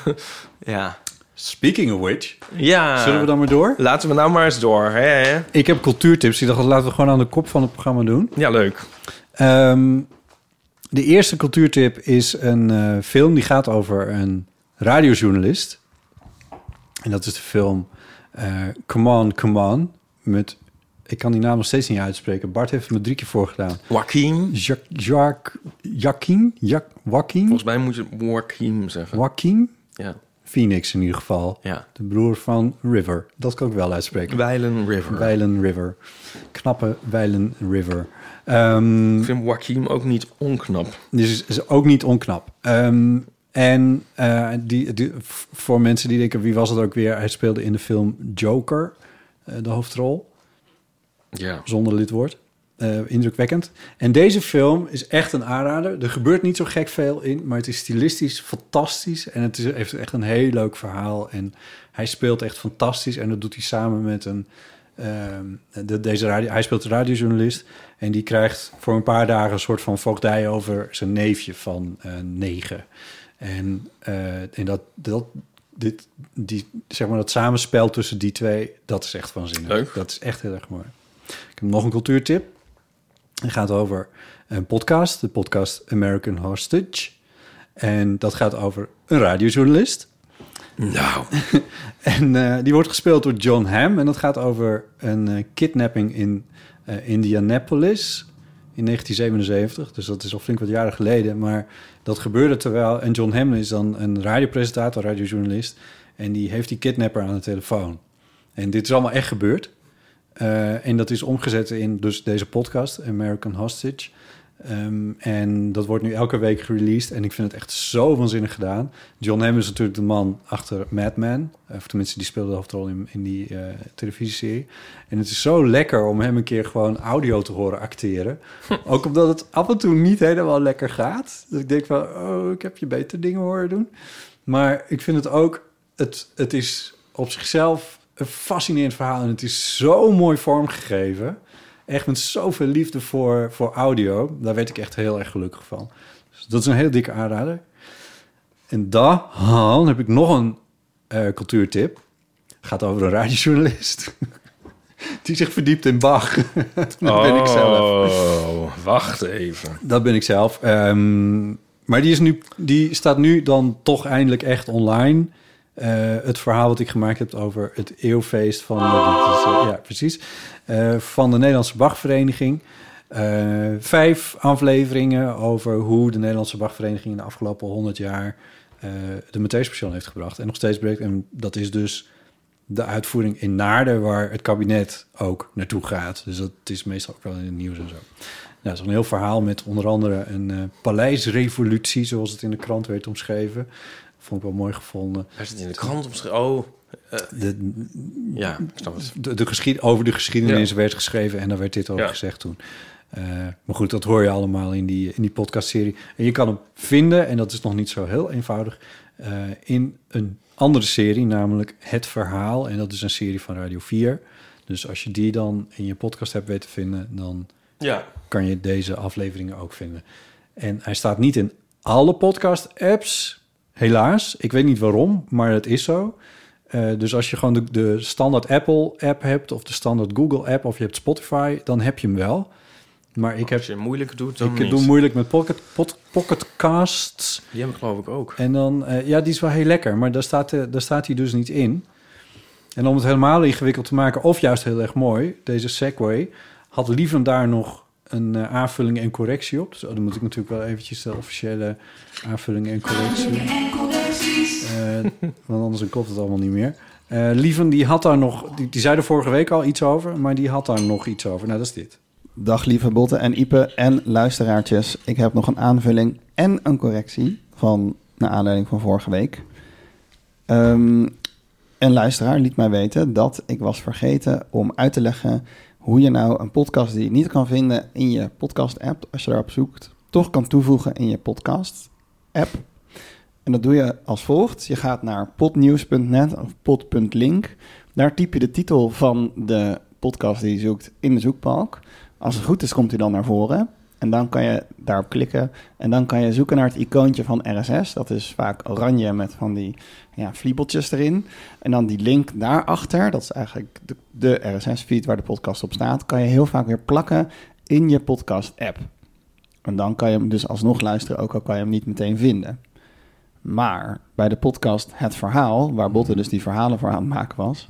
Ja.
Speaking of which,
Ja.
zullen we dan maar door?
Laten we nou maar eens door. Hè?
Ik heb cultuurtips. Ik dacht, dat laten we gewoon aan de kop van het programma doen.
Ja, leuk.
Ehm, de eerste cultuurtip is een eh, film die gaat over een radiojournalist. En dat is de film eh, Come On, Come On. Met, ik kan die naam nog steeds niet uitspreken. Bart heeft me drie keer voorgedaan.
Joaquin.
Jacques, Jacques, Joaquin? Jac- Joaquin?
Volgens mij moet je Joaquin zeggen.
Joaquin?
Ja.
Phoenix in ieder geval.
Ja.
De broer van River. Dat kan ik wel uitspreken.
Weilen River.
Weilen River. Knappe Weilen River. Ehm
Ik vind Joaquin ook niet onknap.
Dus is, is ook niet onknap. Ehm, en eh, die, die- v- voor mensen die denken, wie was het ook weer? Hij speelde in de film Joker, eh, de hoofdrol,
Ja.
zonder lidwoord. Eh, indrukwekkend. En deze film is echt een aanrader. Er gebeurt niet zo gek veel in, maar het is stilistisch fantastisch. En het is, heeft echt een heel leuk verhaal. En hij speelt echt fantastisch. En dat doet hij samen met een... ehm, de, deze radio, hij speelt een radiojournalist. En die krijgt voor een paar dagen een soort van voogdij over zijn neefje van eh, negen. En, eh, en dat, dat, dit, die, zeg maar dat samenspel tussen die twee, dat is echt waanzinnig.
Leuk.
Dat is echt heel erg mooi. Ik heb nog een cultuurtip. Het gaat over een podcast, de podcast American Hostage. En dat gaat over een radiojournalist.
Nou.
En eh, die wordt gespeeld door John Hamm. En dat gaat over een eh, kidnapping in eh, Indianapolis in 1977. Dus dat is al flink wat jaren geleden. Maar dat gebeurde terwijl... En John Hamm is dan een radiopresentator, radiojournalist. En die heeft die kidnapper aan de telefoon. En dit is allemaal echt gebeurd. Eh, en dat is omgezet in dus deze podcast, American Hostage. Ehm, en dat wordt nu elke week gereleased. En ik vind het echt zo waanzinnig gedaan. John Hamm is natuurlijk de man achter Mad Men. Of tenminste, die speelde de hoofdrol in, in die eh, televisieserie. En het is zo lekker om hem een keer gewoon audio te horen acteren. Ook omdat het af en toe niet helemaal lekker gaat. Dus ik denk van, oh, ik heb je beter dingen horen doen. Maar ik vind het ook, het, het is op zichzelf een fascinerend verhaal. En het is zo mooi vormgegeven. Echt met zoveel liefde voor, voor audio. Daar werd ik echt heel erg gelukkig van. Dus dat is een hele dikke aanrader. En dan heb ik nog een eh, cultuurtip. gaat over een radiojournalist. Die zich verdiept in Bach. dat ben ik zelf.
Oh, wacht even.
Dat ben ik zelf. Ehm, maar die, is nu, die staat nu dan toch eindelijk echt online. Eh, het verhaal wat ik gemaakt heb over het eeuwfeest van... dat is, eh, ja, precies. Eh, van de Nederlandse Bachvereniging. Eh, vijf afleveringen over hoe de Nederlandse Bachvereniging... in de afgelopen honderd jaar eh, de Matthäus heeft gebracht. En nog steeds breekt. En dat is dus de uitvoering in Naarden... waar het kabinet ook naartoe gaat. Dus dat is meestal ook wel in het nieuws en zo. Nou, zo'n heel verhaal met onder andere een eh, paleisrevolutie, zoals het in de krant werd omschreven. Vond ik wel mooi gevonden.
Hij zit in de krant omschreven. Oh,
De,
ja. Ik snap het.
de, de geschied, over de geschiedenis werd geschreven en daar werd dit over
Ja.
gezegd toen. Eh, maar goed, dat hoor je allemaal in die, in die podcastserie. En je kan hem vinden, en dat is nog niet zo heel eenvoudig, eh, in een andere serie, namelijk Het Verhaal. En dat is een serie van Radio 4. Dus als je die dan in je podcast hebt weten vinden, dan
Ja.
kan je deze afleveringen ook vinden. En hij staat niet in alle podcast-apps, helaas. Ik weet niet waarom, maar het is zo. Eh, Eh, dus als je gewoon de, de standaard Apple-app hebt of de standaard Google-app of je hebt Spotify, dan heb je hem wel. Maar ik heb
Als je moeilijk doet, dan
ik
Oh, niet.
doe moeilijk met pocket, pod- pocketcasts.
Die heb ik geloof ik ook.
En dan, eh, ja, die is wel heel lekker, maar daar staat, eh, daar staat hij dus niet in. En om het helemaal ingewikkeld te maken, of juist heel erg mooi, deze Segway, had Lieven daar nog een eh, aanvulling en correctie op. Dus oh, dan moet ik natuurlijk wel eventjes de officiële aanvulling en correctie. Eh, want anders dan klopt het allemaal niet meer. Eh, Lieven, die had daar nog, die, die zei er vorige week al iets over, maar die had daar nog iets over. Nou, dat is dit.
Dag lieve Botte en Ipe en luisteraartjes. Ik heb nog een aanvulling en een correctie van naar aanleiding van vorige week. Ehm, een luisteraar liet mij weten dat ik was vergeten om uit te leggen hoe je nou een podcast die je niet kan vinden in je podcast-app, als je daarop zoekt, toch kan toevoegen in je podcast-app. En dat doe je als volgt. Je gaat naar podnieuws.net of pod.link. Daar typ je de titel van de podcast die je zoekt in de zoekbalk. Als het goed is, komt hij dan naar voren. En dan kan je daarop klikken. En dan kan je zoeken naar het icoontje van RSS. Dat is vaak oranje met van die ja, vliebeltjes erin. En dan die link daarachter, dat is eigenlijk de, de RSS-feed waar de podcast op staat, kan je heel vaak weer plakken in je podcast-app. En dan kan je hem dus alsnog luisteren, ook al kan je hem niet meteen vinden. Maar bij de podcast Het Verhaal, waar Botte dus die verhalen voor aan het maken was,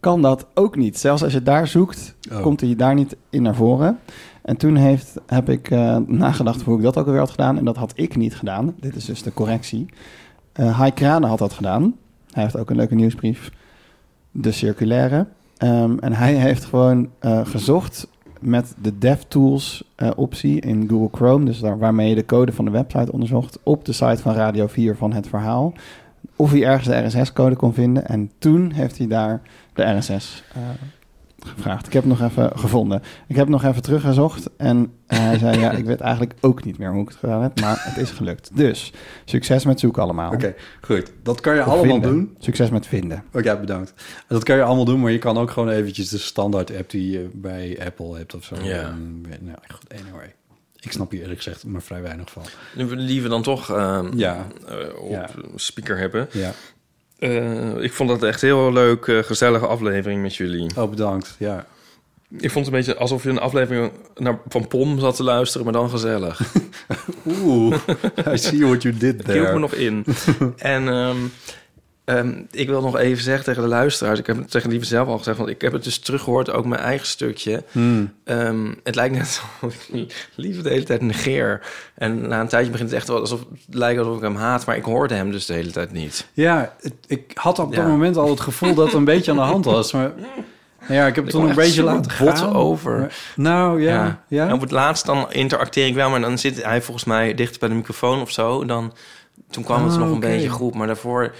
kan dat ook niet. Zelfs als je daar zoekt,
Oh.
komt hij daar niet in naar voren. En toen heeft, heb ik eh, nagedacht hoe ik dat ook alweer had gedaan. En dat had ik niet gedaan. Dit is dus de correctie. Eh Hai Kranen had dat gedaan. Hij heeft ook een leuke nieuwsbrief. De circulaire. Ehm, en hij heeft gewoon eh, gezocht met de DevTools eh, optie in Google Chrome, dus daar, waarmee je de code van de website onderzocht, op de site van Radio 4 van het verhaal, of hij ergens de RSS-code kon vinden. En toen heeft hij daar de RSS eh, gevraagd. Ik heb hem nog even gevonden. Ik heb hem nog even teruggezocht en eh, hij zei, ja, ik weet eigenlijk ook niet meer hoe ik het gedaan heb, maar het is gelukt. Dus, succes met zoeken allemaal.
Nou. Oké, goed. Dat kan je
Of
allemaal
vinden.
doen.
Succes met vinden.
Oké, bedankt. Dat kan je allemaal doen, maar je kan ook gewoon eventjes de standaard app die je bij Apple hebt of zo.
Ja.
Ehm, nou, goed, anyway. Ik snap hier eerlijk gezegd maar vrij weinig van.
Nu we liever dan toch eh,
Ja,
eh, op
Ja.
speaker hebben.
ja.
Eh, ik vond dat echt heel leuk, eh, gezellige aflevering met jullie.
Oh, bedankt. Ja.
Ik vond het een beetje alsof je een aflevering naar, van Pom zat te luisteren, maar dan gezellig.
Oeh, I see what you did
Ik hield me
there.
nog in. en ehm, ehm, ik wil nog even zeggen tegen de luisteraars... ik heb het tegen lieve zelf al gezegd... want ik heb het dus teruggehoord, ook mijn eigen stukje. Ehm, het lijkt net alsof ik lieve de hele tijd negeer. En na een tijdje begint het echt wel alsof... het lijkt alsof ik hem haat, maar ik hoorde hem dus de hele tijd niet.
Ja, het- ik had op dat
Ja.
moment al het gevoel dat het een beetje aan de hand was, maar... Nou ja, ik heb het
Ik
toen een
kwam echt
beetje
super
laten
bot
gaan.
over.
maar- nou, ja. ja.
En op het laatst dan interacteer ik wel... maar dan zit hij volgens mij dicht bij de microfoon of zo. Dan, toen kwam het
Ah,
nog een
oké.
beetje goed, maar daarvoor...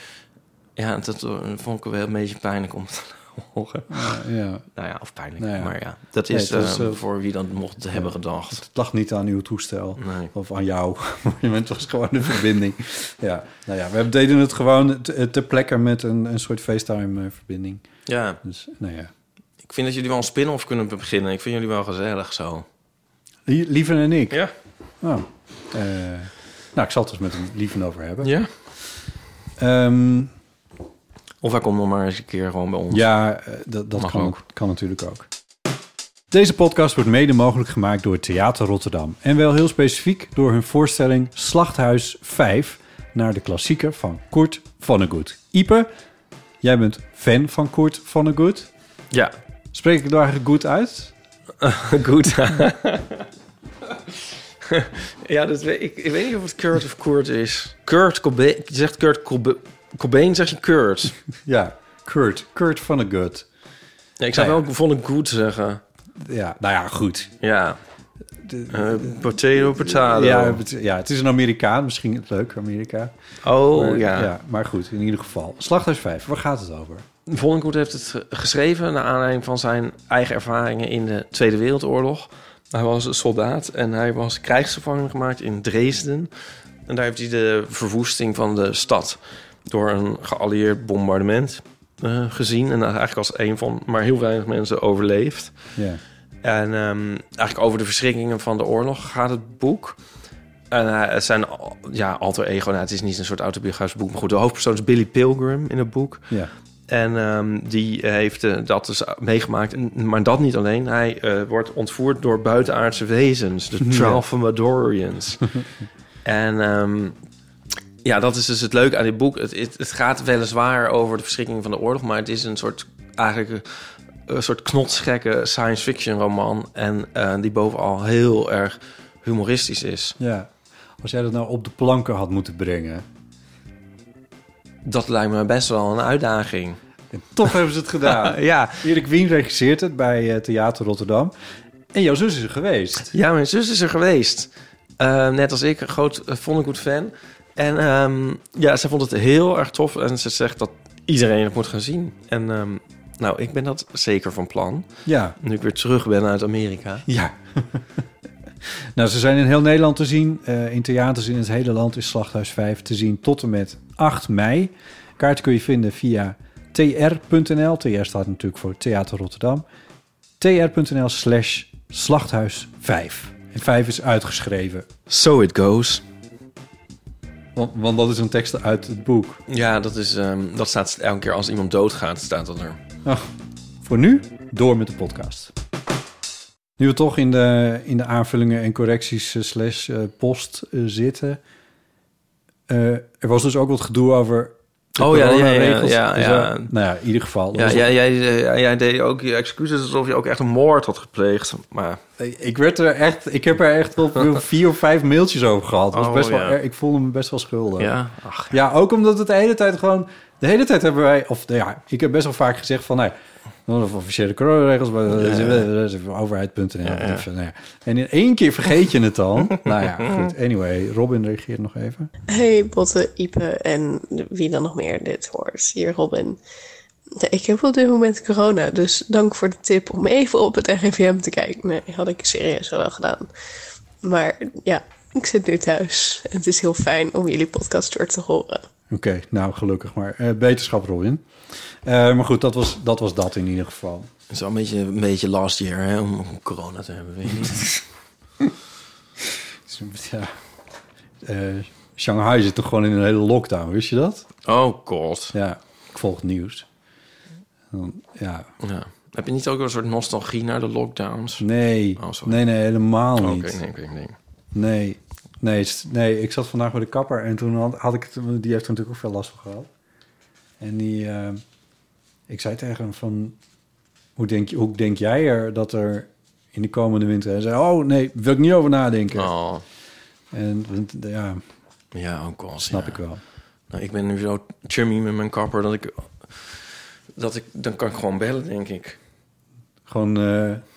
ja, dat eh, vond ik wel een beetje pijnlijk om te horen.
ja.
Nou ja, of pijnlijk.
Nou ja.
Maar ja, dat
Nee,
is,
het was,
eh,
eh,
voor wie dat mocht hebben gedacht.
Het lag niet aan uw toestel.
Nee.
Of aan jou. Het was gewoon een verbinding. Ja, nou ja, we deden het gewoon te- ter plekke met een, een soort FaceTime-verbinding.
Ja,
Dus, nou ja.
ik vind dat jullie wel een spin-off kunnen beginnen. Ik vind jullie wel gezellig zo.
Lie- Lieven en ik.
Ja,
Oh. Eh, nou, ik zal het dus met een Lieven over hebben.
ja.
Ehm,
Of hij komt nog maar eens een keer gewoon bij ons.
ja eh, dat, dat
Mag
kan,
ook.
kan natuurlijk ook. Deze podcast wordt mede mogelijk gemaakt door Theater Rotterdam. En wel heel specifiek door hun voorstelling Slachthuis 5... naar de klassieker van Kurt Vonnegut. Ipe, jij bent fan van Kurt Vonnegut...
ja.
Spreek ik daar eigenlijk goed uit?
goed. ja, dat weet, ik, ik weet niet of het Kurt of Kurt is. Kurt Cobain, je zegt Kurt Cobain, Cobain zeg je Kurt.
Ja, Kurt. Kurt van de Gut.
Ja, ik zou
Nou ja.
wel Von Good zeggen.
Ja, nou ja, goed.
Ja. Eh, potato, potato.
Ja, het, ja, het is een Amerikaan. Misschien het leuk, Amerika.
oh,
Maar-
ja.
Maar goed, in ieder geval. Slachthuis 5, waar gaat het over?
Vonnegut heeft het ge- geschreven naar aanleiding van zijn eigen ervaringen in de Tweede Wereldoorlog. Hij was een soldaat en hij was krijgsgevangen gemaakt in Dresden. En daar heeft hij de verwoesting van de stad door een geallieerd bombardement eh, gezien. En eigenlijk als een van maar heel weinig mensen overleefd.
Ja.
En ehm, eigenlijk over de verschrikkingen van de oorlog gaat het boek. En eh, het zijn al- ja, alter ego. Nou, het is niet een soort autobiografisch boek. Maar goed, de hoofdpersoon is Billy Pilgrim in het boek.
ja.
En ehm, die heeft eh, dat dus meegemaakt. En- Maar dat niet alleen. Hij eh, wordt ontvoerd door buitenaardse wezens. De Tralfamadorians. en ehm, ja, dat is dus het leuke aan dit boek. Het, het, het gaat weliswaar over de verschrikking van de oorlog. Maar het is een soort, eigenlijk een, een soort knotsgekke science fiction roman. En eh, die bovenal heel erg humoristisch is.
Ja. Als jij dat nou op de planken had moeten brengen.
Dat lijkt me best wel een uitdaging.
En toch hebben ze het gedaan.
Ja,
Erik Wien regisseert het bij eh, Theater Rotterdam. En jouw zus is er geweest.
Ja, mijn zus is er geweest. Eh, net als ik, een groot uh, Vonnegut fan. En ehm, ja, ze vond het heel erg tof. En ze zegt dat iedereen het moet gaan zien. En ehm, nou, ik ben dat zeker van plan.
Ja.
Nu ik weer terug ben uit Amerika.
Ja. nou, ze zijn in heel Nederland te zien. Eh, in theaters in het hele land is Slachthuis 5 te zien tot en met 8 mei. Kaart kun je vinden via tr.nl. TR staat natuurlijk voor Theater Rotterdam. tr.nl slash slachthuis 5. En 5 is uitgeschreven.
So it goes.
Want, want dat is een tekst uit het boek.
Ja, dat, is, ehm, dat staat elke keer als iemand doodgaat, staat dat er.
Ach, Nou, voor nu, door met de podcast. Nu we toch in de, in de aanvullingen en correcties eh, slash eh, post eh, zitten. eh, er was dus ook wat gedoe over de
Oh, ja, ja, ja,
coronaregels.
ja,
Dus,
ja.
eh, nou ja, in ieder geval. dat
Ja,
was-
jij, jij, eh, jij- jij deed ook je excuses alsof je ook echt een moord had gepleegd. Maar
Ik, werd er echt, ik heb er echt wel vier of vijf mailtjes over gehad. Het Was
Oh,
best wel,
ja.
erg- Ik voelde me best wel schuldig.
ja, eh, ach,
Ja, ook omdat het de hele tijd gewoon... De hele tijd hebben wij... Of nou ja, ik heb best wel vaak gezegd van... nou Nee, of officiële coronaregels, maar overheid.nl. of, nou ja. En in één keer vergeet je het dan. nou ja, goed. Anyway, Robin reageert nog even.
Hey Botte, Ipe en wie dan nog meer dit hoort. Hier Robin. Nee, Ik heb op dit moment corona, dus dank voor de tip om even op het RIVM te kijken. Nee, had ik serieus wel gedaan. Maar ja, ik zit nu thuis. En het is heel fijn om jullie podcast weer te horen.
Oké, nou gelukkig maar. Eh, beterschap, Robin. Eh, maar goed, dat was, dat was dat in ieder geval.
het is wel een beetje, een beetje last year hè, om om corona te hebben. Weet je niet.
Ja. Eh, Shanghai zit toch gewoon in een hele lockdown, wist je dat?
Oh god.
Ja, ik volg het nieuws. Dan- Ja,
Ja. Heb je niet ook een soort nostalgie naar de lockdowns?
nee.
Oh, sorry.
nee, nee, helemaal
Oké,
niet.
nee, nee, nee.
Nee, nee, s- nee. Ik zat vandaag bij de kapper en toen had, had ik het, die heeft er natuurlijk ook veel last van gehad. En die, eh, ik zei tegen hem van, hoe denk, je- hoe denk jij er dat er in de komende winter? Hij zei, oh nee, wil ik niet over nadenken.
Oh,
En want, ja,
ja, ook al.
snap ik wel.
Nou, ik ben nu zo chummy met mijn kapper dat ik, dat ik... Dan kan ik gewoon bellen, denk ik.
Gewoon eh,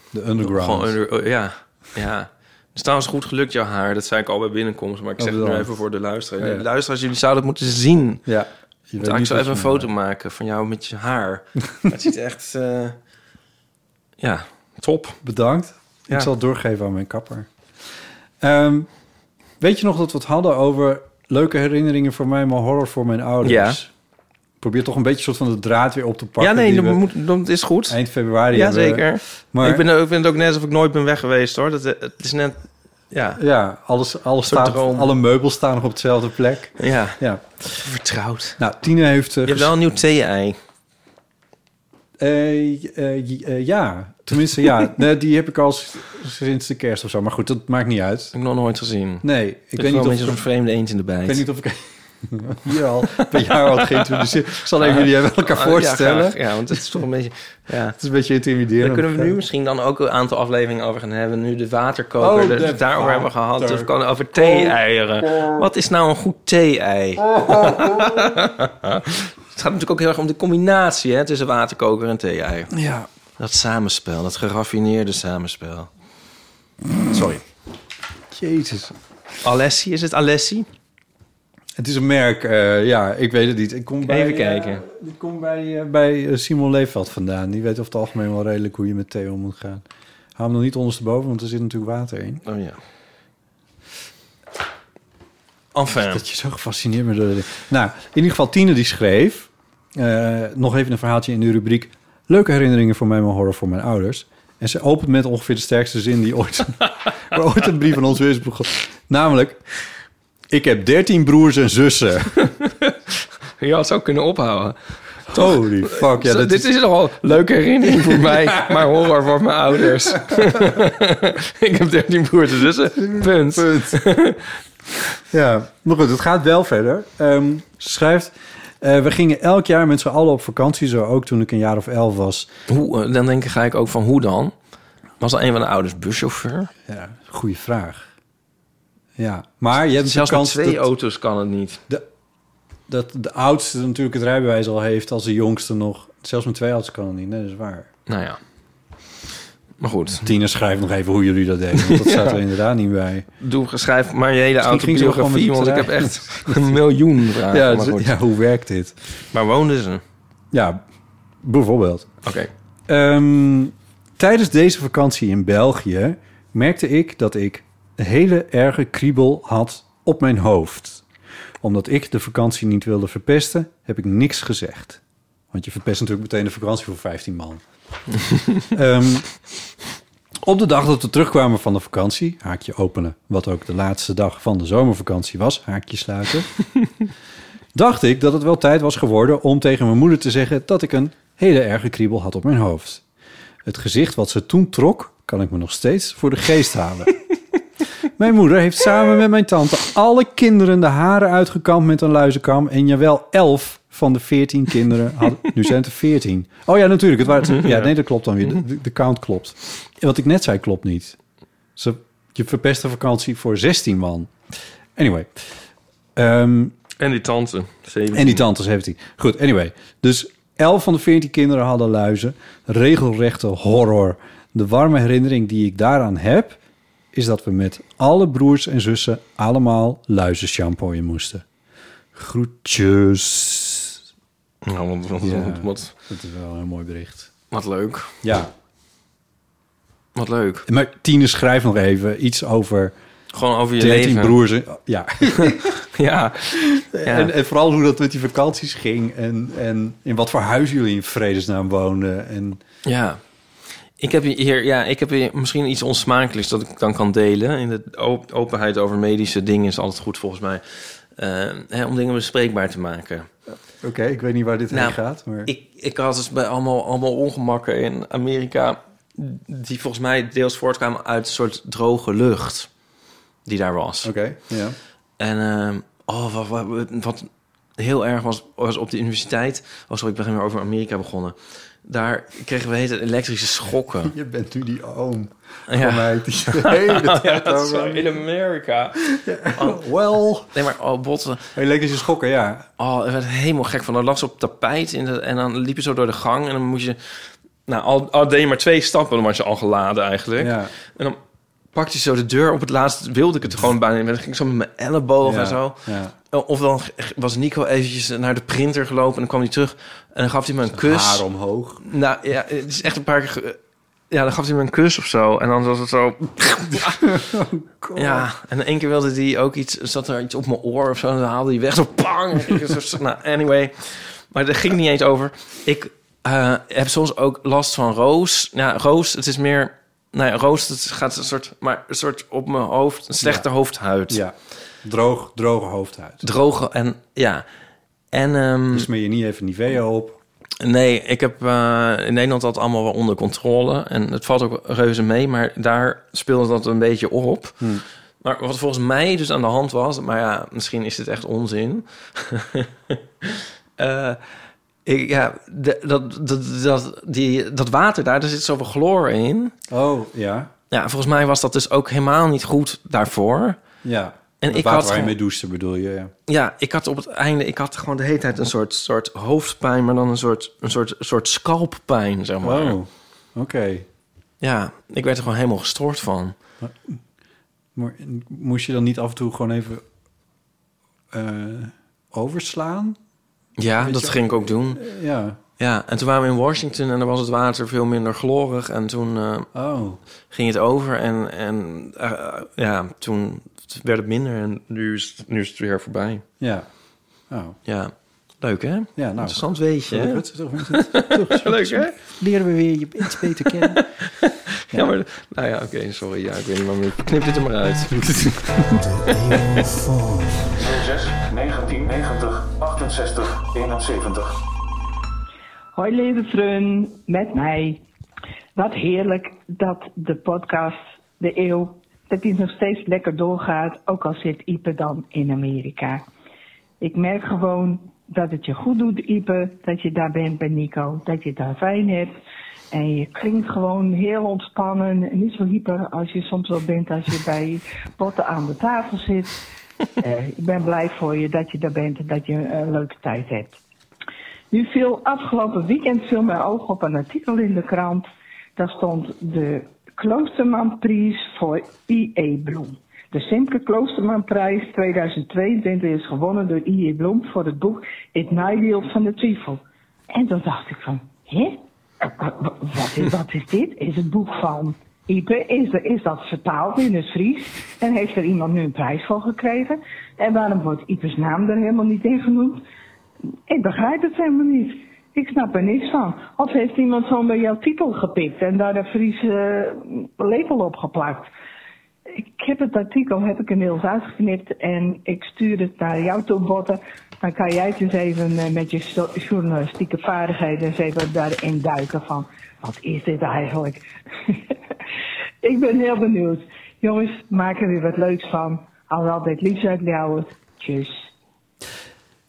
de underground.
Gewoon under- oh, ja, ja. Het is trouwens goed gelukt, jouw haar. Dat zei ik al bij binnenkomst, maar ik
Oh,
zeg het nu
bedankt.
even voor de luisteraars.
Ja.
De Luisteraars, jullie zouden het moeten zien.
Ja. Je
Ik zou
niet
even
wat
een
je-
foto maken van jou met je haar. het ziet echt... eh, ja, top.
Bedankt.
Ja.
Ik zal het doorgeven aan mijn kapper. Ehm, weet je nog dat we het hadden over leuke herinneringen voor mij, maar horror voor mijn ouders? Ik Probeer toch een beetje soort van de draad weer op te pakken.
ja, nee,
die
dat,
we
moet, dat is goed.
eind februari.
Ja,
hebben.
zeker.
Maar
Ik, ben, ik vind het ook net alsof ik nooit ben weg geweest, hoor. Dat, eh, het is net... Ja,
ja, alles, alles
Soort
staat,
droom.
alle meubels staan nog op dezelfde plek.
ja.
Ja.
Vertrouwd.
Nou, Tine heeft. eh,
Je hebt wel een nieuw thee-ei.
Eh, eh, j- eh, ja, tenminste ja. nee, die heb ik al s- sinds de kerst of zo. Maar goed, dat maakt niet uit.
Heb ik nog nooit gezien.
Nee, ik
Ik
weet
weet
niet
een beetje
of
zo'n vreemde eend in de bijt.
Ik weet niet of ik hier al bij jou had geïntroduceerd. Ik zal even jullie hebben elkaar
Ah,
voorstellen.
Ja, graag. ja, want het is toch een beetje... Ja.
Het is een beetje intimiderend.
Daar kunnen we nu misschien dan ook een aantal afleveringen over gaan hebben. Nu de waterkoker,
Oh,
dat
de
we het daarover hebben gehad. Dus we
waterkoker.
kunnen over thee-eieren. Wat is nou een goed thee-ei? Het gaat natuurlijk ook heel erg om de combinatie hè, tussen waterkoker en thee-ei.
Ja.
Dat samenspel, dat geraffineerde samenspel.
Sorry. Jezus.
Alessi, is het Alessi?
Het is een merk, eh, ja, ik weet het niet. Ik kom bij, eh,
kijken.
ik kom bij, eh, bij eh, Simon Leefveld vandaan. Die weet over het algemeen wel redelijk hoe je met thee om moet gaan. Hou hem nog niet ondersteboven, want er zit natuurlijk water in.
Oh ja. Enfin.
Dat je zo gefascineerd bent door de Nou, in ieder geval Tine die schreef... eh, nog even een verhaaltje in de rubriek... Leuke herinneringen voor mij, maar horror voor mijn ouders. En ze opent met ongeveer de sterkste zin die ooit... waar ooit een brief van ons is begon. Namelijk... Ik heb dertien broers en zussen.
Je had het ook kunnen ophouden.
Holy fuck, ja,
Zo,
dat
dit
is...
is nogal een leuke herinnering voor mij, maar horror voor mijn ouders. ik heb 13 broers en zussen. Punt.
Ja, maar goed, het gaat wel verder. Ehm, ze schrijft... eh, we gingen elk jaar met z'n allen op vakantie, zo ook toen ik een jaar of elf was.
Hoe, eh, dan denk ik, ga ik ook van hoe dan? Was er een van de ouders buschauffeur?
Ja, goede vraag. Ja, maar je hebt
Zelfs
de
met
kans
twee
dat,
auto's kan het niet.
dat de oudste natuurlijk het rijbewijs al heeft... als de jongste nog... Zelfs met twee auto's kan het niet, nee, dat is waar.
Nou ja. Maar goed,
Tina, schrijf nog even hoe jullie dat deden. Want dat staat er inderdaad niet bij.
doe geschrijf maar je hele
ging ze wel gewoon
autobiografie,
met
want ik
de
heb echt een miljoen vragen.
ja,
maar,
dus-
goed.
ja, hoe werkt dit?
maar woonden ze?
Ja, bijvoorbeeld.
Oké.
Ehm, tijdens deze vakantie in België merkte ik dat ik een hele erge kriebel had op mijn hoofd. Omdat ik de vakantie niet wilde verpesten, heb ik niks gezegd. Want je verpest natuurlijk meteen de vakantie voor 15 man. Ehm, op de dag dat we terugkwamen van de vakantie, haakje openen, wat ook de laatste dag van de zomervakantie was, haakje sluiten, dacht ik dat het wel tijd was geworden om tegen mijn moeder te zeggen dat ik een hele erge kriebel had op mijn hoofd. Het gezicht wat ze toen trok, kan ik me nog steeds voor de geest halen. Mijn moeder heeft samen met mijn tante alle kinderen de haren uitgekamd met een luizenkam. En jawel, elf van de veertien kinderen hadden... Nu zijn het er veertien. Oh ja, natuurlijk. Het waren, ja, nee, dat klopt dan weer. De, de count klopt. En wat ik net zei, klopt niet. Ze, je verpest de vakantie voor 16 man. Anyway. Ehm,
En die tante.
en die tante 17. Goed, anyway. Dus 11 van de 14 kinderen hadden luizen. Regelrechte horror. De warme herinnering die ik daaraan heb... is dat we met alle broers en zussen... allemaal luizen shampooien moesten. Groetjes.
Nou, wat, wat,
Ja.
wat, wat,
Dat is wel een mooi bericht.
wat leuk.
Ja,
Wat leuk.
maar Tine schrijft nog even iets over...
Gewoon over je
13
leven.
broers. en- Ja.
Ja. Ja.
En, en vooral hoe dat met die vakanties ging. En, en in wat voor huis jullie in vredesnaam woonden. En
Ja. Ik heb hier, ja, ik heb hier misschien iets onsmakelijks dat ik dan kan delen. In de op- openheid over medische dingen is altijd goed volgens mij. Eh, hè, om dingen bespreekbaar te maken.
Oké, ik weet niet waar dit
Nou,
heen gaat. Maar...
Ik, ik had dus bij allemaal, allemaal ongemakken in Amerika... die volgens mij deels voortkwamen uit een soort droge lucht die daar was.
Oké, ja.
En ehm, oh, wat, wat, wat heel erg was, was op de universiteit... Oh, sorry, ik ben weer over Amerika begonnen. Daar kregen we hete elektrische schokken.
Je bent nu die oom
Ja.
van eh, mij die de hele tijd
Ja, dat is
over- Oh,
zo in Amerika.
Wel.
Nee, maar oh, botten.
Hey, lekker is je schokken, ja.
Oh, ik werd helemaal gek van. Dan lag ze op tapijt in de, en dan liep je zo door de gang. En dan moest je... Nou, al, al deed je maar twee stappen, dan was je al geladen eigenlijk.
Ja.
En dan pakte je zo de deur op het laatst. Wilde ik het gewoon bijna niet meer. Dan ging ik zo met mijn elleboog
ja,
en zo.
Ja.
Oh, Of dan was Nico eventjes naar de printer gelopen. En dan kwam hij terug. En dan gaf hij me een kus.
Haar omhoog.
Nou ja, het is echt een paar keer... ge- Ja, dan gaf hij me een kus of zo. En dan was het zo... Ja, en één keer wilde hij ook iets... Zat er iets op mijn oor of zo. En dan haalde hij weg. Zo pang. Zo- nou, anyway. Maar daar ging niet eens over. Ik eh, heb soms ook last van roos. Ja, roos, het is meer... Nou ja, roos, het gaat een soort... Maar een soort op mijn hoofd... Een slechte hoofdhuid.
Ja. Droog, droge hoofdhuid.
Droge en... Ja. En... ehm,
Dus smeer je niet even Nivea op.
Nee, ik heb eh, in Nederland dat allemaal wel onder controle. En het valt ook reuze mee, maar daar speelde dat een beetje op. Maar wat volgens mij dus aan de hand was... maar ja, misschien is dit echt onzin. Eh, ik, ja, de- dat, dat, dat, die, dat water daar, daar zit zoveel chloor in.
Oh, ja.
Ja, volgens mij was dat dus ook helemaal niet goed daarvoor.
Ja.
En
Het
ik
water
had
waar je
gewoon-
mee douchen bedoel je, ja.
Ja, ik had op het einde, ik had gewoon de hele tijd een soort, soort hoofdpijn... maar dan een soort, een soort, soort scalppijn, zeg maar.
Wow. Oh, Oké.
Ja, ik werd er gewoon helemaal gestoord van.
Maar moest je dan niet af en toe gewoon even eh, overslaan?
Ja,
Weet
dat
je-
ging ik ook doen.
Eh, ja.
Ja, en toen waren we in Washington en daar was het water veel minder glorig. En toen eh,
Oh.
ging het over en, en eh, ja, toen werd het minder en nu is, het- nu is het weer voorbij.
Ja. Oh.
Ja, leuk hè?
Ja, nou.
Interessant weetje. hè?
Leuk, toch? Toch,
Leuk hè?
Leren we weer je iets beter kennen.
Ja, maar, nou ja, oké, sorry. Ja, ik weet niet waarom. ik- Knip dit er maar uit.
06 1990 68 71. Hoi lieve vriend, met mij. Wat heerlijk dat de podcast De Eeuw, dat die nog steeds lekker doorgaat, ook al zit Ipe dan in Amerika. Ik merk gewoon dat het je goed doet, Ipe, dat je daar bent bij Nico, dat je het daar fijn hebt. En je klinkt gewoon heel ontspannen, niet zo hyper als je soms wel bent als je bij botten aan de tafel zit. Eh, ik ben blij voor je dat je daar bent en dat je een leuke tijd hebt. Nu viel afgelopen weekend viel mijn oog op een artikel in de krant. Daar stond de Kloostermanprijs voor I.E. Bloem. De Simke Kloostermanprijs 2022 is gewonnen door I.E. Bloem voor het boek It Nijwiel van de Twijfel. En toen dacht ik van, hè? Wat is, wat is dit? Is het boek van Ipe? Is, er- is dat vertaald in het Fries? En heeft er iemand nu een prijs voor gekregen? En waarom wordt Ipe's naam er helemaal niet in genoemd? Ik begrijp het helemaal niet. Ik snap er niks van. Of heeft iemand gewoon bij jouw titel gepikt en daar een Friese eh, lepel op geplakt? Ik heb het artikel heb ik inmiddels uitgeknipt en ik stuur het naar jou toe, Botten. Dan kan jij het eens even eh, met je sto- journalistieke vaardigheden eens even daarin duiken van... Wat is dit eigenlijk? ik ben heel benieuwd. Jongens, maak er weer wat leuks van. Alhoewel dit liefst uit jou. Tjus.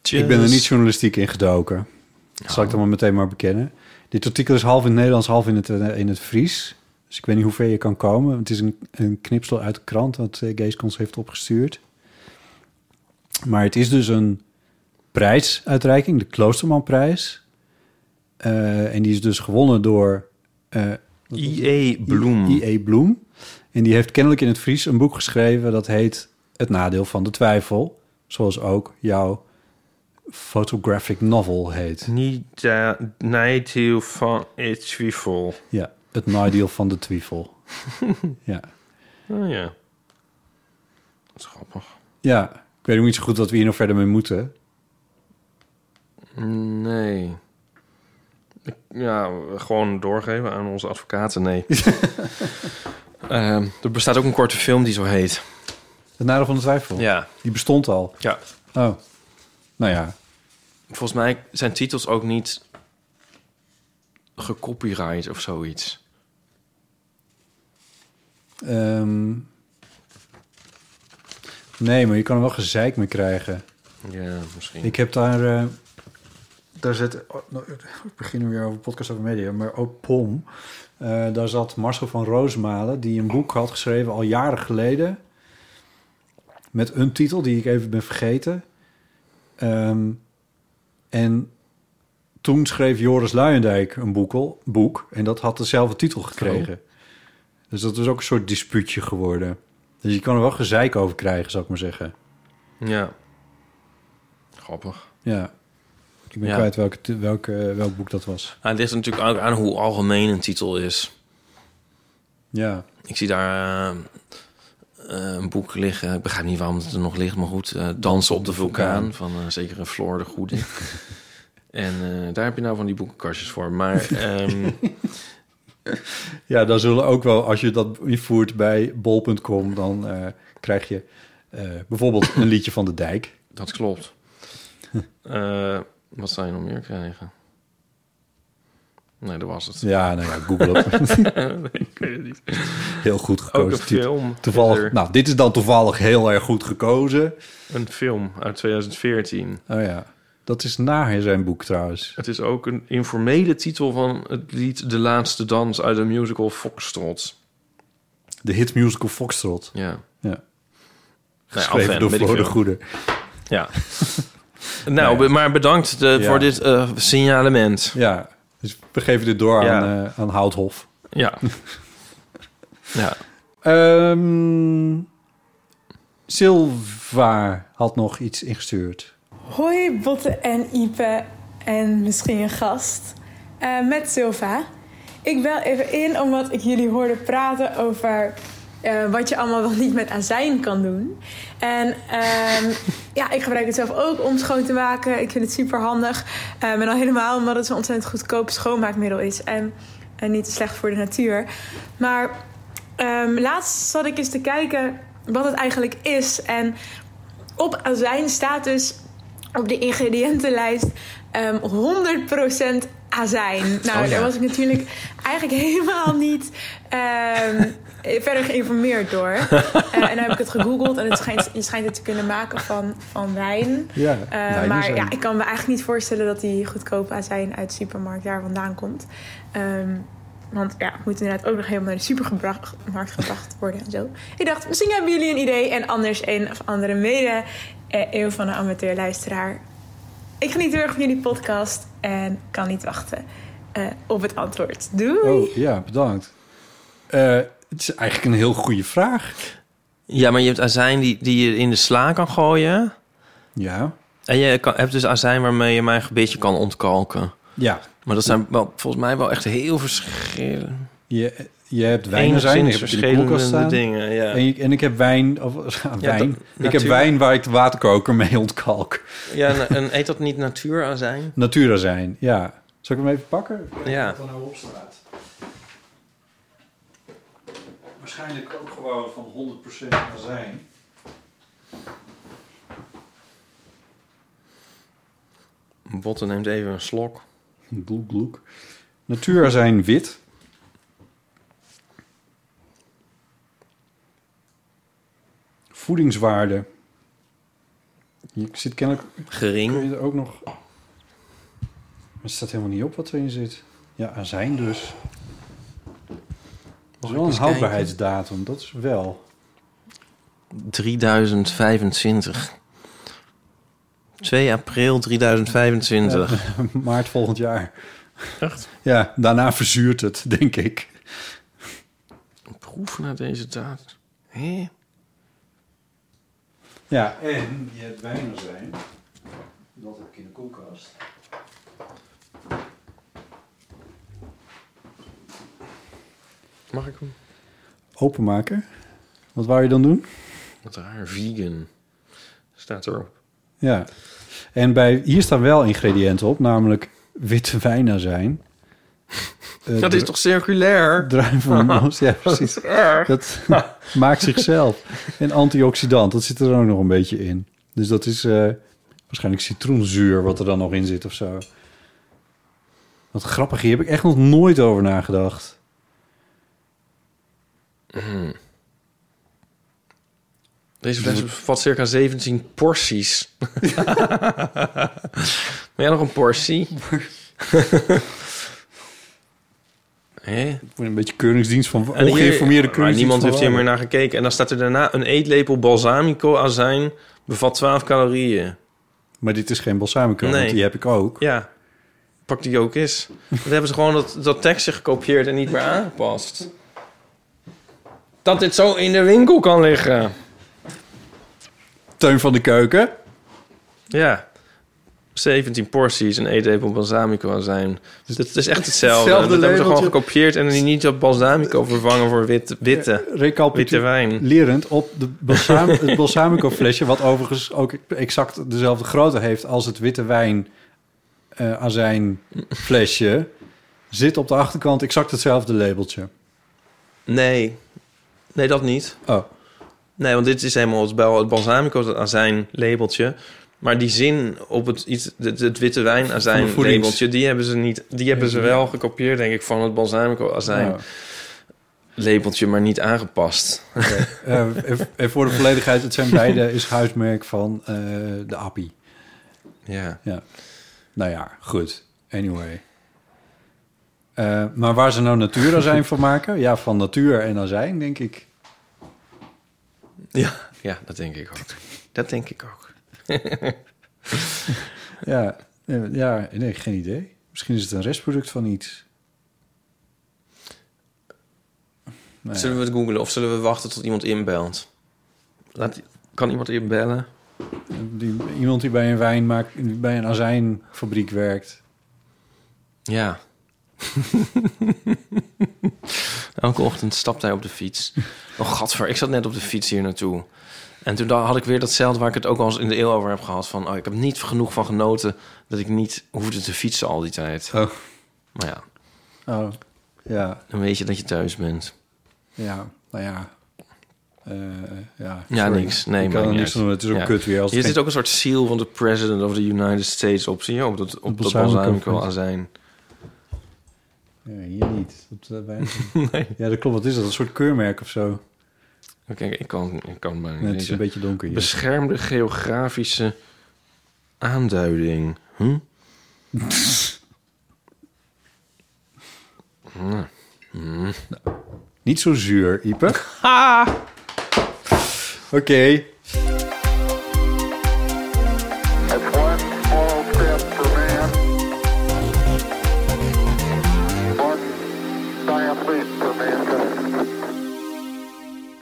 Ik ben er niet journalistiek in gedoken. Dat zal ik dan maar meteen maar bekennen. Dit artikel is half in het Nederlands, half in het, eh, in het Fries. Dus ik weet niet hoe ver je kan komen. Het is een, een knipsel uit de krant dat eh, Geeskons heeft opgestuurd. Maar het is dus een prijsuitreiking, de Kloostermanprijs. Eh, en die is dus gewonnen door... eh,
I.E. Bloem.
I.E. E Bloem. En die heeft kennelijk in het Fries een boek geschreven... dat heet Het Nadeel van de Twijfel. Zoals ook jouw photographic novel heet.
Niet uh, Nijtiel van het Zwiefel.
Ja, Het Nadeel van de Twijfel. ja.
Oh ja. Dat is grappig.
ja, ik weet ook niet zo goed wat we hier nog verder mee moeten.
Nee. Ik- Ja, gewoon doorgeven aan onze advocaten, nee. Ehm, er bestaat ook een korte film die zo heet.
Het Nadeel van de Twijfel.
Ja.
Die bestond al.
Ja.
Oh, nou ja.
Volgens mij zijn titels ook niet gecopyright of zoiets.
Ehm, nee, maar je kan er wel gezeik mee krijgen.
Ja, misschien.
Ik heb daar... eh, daar zit... oh, nou, we beginnen weer over podcast over media, maar ook POM. Eh, daar zat Marcel van Roosmalen, die een boek had geschreven al jaren geleden. Met een titel die ik even ben vergeten. Ehm, en toen schreef Joris Luijendijk een boekel, boek. En dat had dezelfde titel gekregen. Dus dat is ook een soort dispuutje geworden. Dus je kan er wel gezeik over krijgen, zou ik maar zeggen.
Ja. Grappig.
Ja. Ik ben
Ja.
kwijt welke, t- welke, eh, welk boek dat was.
Ah, het ligt er natuurlijk ook aan hoe algemeen een titel is.
Ja.
Ik zie daar eh, eh, een boek liggen. Ik begrijp niet waarom het er nog ligt, maar goed. eh, Dansen op de vulkaan van eh, zeker een Floor de Goede. en eh, daar heb je nou van die boekenkastjes voor. Maar ehm,
Ja, dan zullen ook wel, als je dat invoert bij bol.com, dan eh, krijg je eh, bijvoorbeeld een liedje van de dijk.
dat klopt. Eh, wat zou je nog meer krijgen? Nee, dat was het.
Ja, nou ja, Google het.
Ik weet het niet.
Heel goed gekozen.
Ook een
titel.
film. is
Toevallig,
er.
nou, dit is dan toevallig heel erg goed gekozen.
Een film uit 2014.
Oh ja, dat is na zijn boek trouwens.
Het is ook een informele titel van het lied De Laatste Dans uit de musical Foxtrot.
De hit musical Foxtrot.
Ja.
Ja.
Nou ja,
Geschreven
fan,
door
weet ik
Floor de
veel.
Goede.
Ja. nou, be- maar bedankt eh,
Ja.
voor dit eh, signalement.
Ja, dus we geven dit door
Ja.
aan, eh, aan Houthof.
Ja. ja.
Ehm Silva had nog iets ingestuurd.
Hoi Botte en Ipe en misschien een gast. Eh, met Silva. Ik bel even in omdat ik jullie hoorde praten over eh, wat je allemaal wel niet met azijn kan doen. En ehm, ja, ik gebruik het zelf ook om schoon te maken. Ik vind het super handig. en al helemaal omdat het een ontzettend goedkoop schoonmaakmiddel is. En, en niet te slecht voor de natuur. Maar ehm, laatst zat ik eens te kijken wat het eigenlijk is. En op azijn staat dus op de ingrediëntenlijst ehm 100% azijn. Nou,
Oh, ja.
daar was ik natuurlijk eigenlijk helemaal niet ehm, verder geïnformeerd door. Eh, en dan heb ik het gegoogeld en het schijnt, je schijnt het te kunnen maken van, van wijn.
Ja,
Eh,
wijnazijn.
maar ja, ik kan me eigenlijk niet voorstellen dat die goedkope azijn uit de supermarkt daar vandaan komt. Ehm, want ja, het moet inderdaad ook nog helemaal naar de supermarkt gebracht worden en zo. Ik dacht, misschien hebben jullie een idee en anders een of andere mede eh, eeuw van een amateur luisteraar. Ik geniet heel erg van jullie podcast en kan niet wachten eh, op het antwoord. Doei!
Oh, ja, bedankt. Eh, het is eigenlijk een heel goede vraag.
Ja, maar je hebt azijn die, die je in de sla kan gooien.
Ja.
En je kan, hebt dus azijn waarmee je mijn gebitje kan ontkalken.
Ja.
Maar dat zijn wel, volgens mij wel echt heel verschillende...
Je, je hebt wijn zijn, ik
Enigszins
heb het in de koelkast
verschillende
staan.
dingen, ja.
en, ik, en ik heb wijn, of wijn.
dat-
ik heb
natuurlijk.
wijn waar ik de waterkoker mee ontkalk.
Ja, en, en eet dat niet natuurazijn?
Natura zijn, ja. Zal ik hem even pakken?
Ja.
nou Waarschijnlijk ook gewoon van 100% azijn.
Botten neemt even een slok.
Gloek, gloek. Natuurazijn wit. Voedingswaarde. Je zit kennelijk...
Gering.
Kun je er ook nog... Maar het staat helemaal niet op wat erin zit. Ja, azijn dus. Dat is wel een
eens kijken?
houdbaarheidsdatum, dat is wel.
3025. 2 april 3025.
Ja, maart volgend jaar. Echt? Ja, daarna verzuurt het, denk ik.
Proef naar deze daad. Hé?
Ja, en je hebt wijnazijn. Dat heb ik in de koelkast.
Mag ik hem?
Openmaken. Wat wou je dan doen?
Wat raar, vegan. Staat erop.
Ja. En bij, hier staan wel ingrediënten op, namelijk witte wijnazijn. Eh,
dat is
dru-
toch circulair?
Druivenmoos, ja precies.
Dat is erg.
Dat maakt zichzelf. En antioxidant, dat zit er ook nog een beetje in. Dus dat is eh, waarschijnlijk citroenzuur wat er dan nog in zit of zo. Wat grappig, hier heb ik echt nog nooit over nagedacht.
Hmm. Deze fles bevat circa 17 porties. Wil jij nog een portie? Hé?
Ik word een beetje keuringsdienst van
En hier-
ongeïnformeerde keuringsdienst.
maar
van
niemand
oh.
heeft hier meer
waarde.
naar gekeken. En dan staat er daarna een eetlepel balsamico azijn bevat 12 calorieën.
Maar dit is geen balsamico,
Nee.
want die heb ik ook.
Ja, pak die ook eens. Dan hebben ze gewoon dat, dat tekstje gekopieerd en niet meer aangepast. Dat dit zo in de winkel kan liggen.
Teun van de Keuken.
Ja. 17 porties, een eetlepel balsamico azijn. Dus dat is echt hetzelfde.
Hetzelfde
dat hebben ze gewoon
labeltje.
gekopieerd en die niet dat balsamico vervangen voor wit, witte. witte wijn.
Lerend op de balsam, het balsamico flesje, wat overigens ook exact dezelfde grootte heeft als het witte wijn eh azijn flesje, zit op de achterkant exact hetzelfde labeltje.
Nee. Nee, dat niet.
Oh.
Nee, want dit is helemaal het, bal- het balsamico dat azijn labeltje. Maar die zin op het, iets, het, het witte wijn azijn
Van de voedings-
labeltje, die hebben ze niet. Die hebben ze wel gekopieerd, denk ik, van het balsamico azijn
Oh.
labeltje, maar niet aangepast.
Eh, en- en voor de volledigheid, het zijn beide is huismerk van eh, de Appie.
Ja.
ja. Nou ja, goed. Anyway. Eh, maar waar ze nou natuurazijn van maken? Ja, van natuur en azijn, denk ik.
Ja. ja, dat denk ik ook. Dat denk ik ook.
Ja, eh, ja nee, geen idee. Misschien is het een restproduct van iets. Nou ja.
Zullen we het googlen of zullen we wachten tot iemand inbelt? Laat, kan iemand inbellen?
Die, iemand die bij een wijn maakt, bij een azijnfabriek werkt.
Ja. Elke ochtend stapt hij op de fiets. Oh, gadver, ik zat net op de fiets hier naartoe. En toen da- had ik weer datzelfde waar ik het ook al eens in de eeuw over heb gehad. Van, oh, ik heb niet genoeg van genoten dat ik niet hoefde te fietsen al die tijd. Maar ja,
Oh, ja,
dan weet je dat je thuis bent.
ja, nou ja. Eh, ja,
Ja,
sorry.
niks. Nee,
ik
maakt
kan er
niet
niks
uit.
aan doen. Het is ook
Ja.
kut weer. Als
Hier
het
zit
geen-
ook een soort seal van de President of the United States op. Zie je op dat, op dat
balsamico
balsamico
flesje.
azijn.
Ja, hier niet. Dat, eh, bij- Ja, dat klopt. Wat is dat? Een soort keurmerk of zo?
Oké, ik kan, ik kan maar
Nee, het is een beetje donker hier.
Beschermde geografische aanduiding. Hm? Nou, hm.
Niet zo zuur, Ipe. Oké.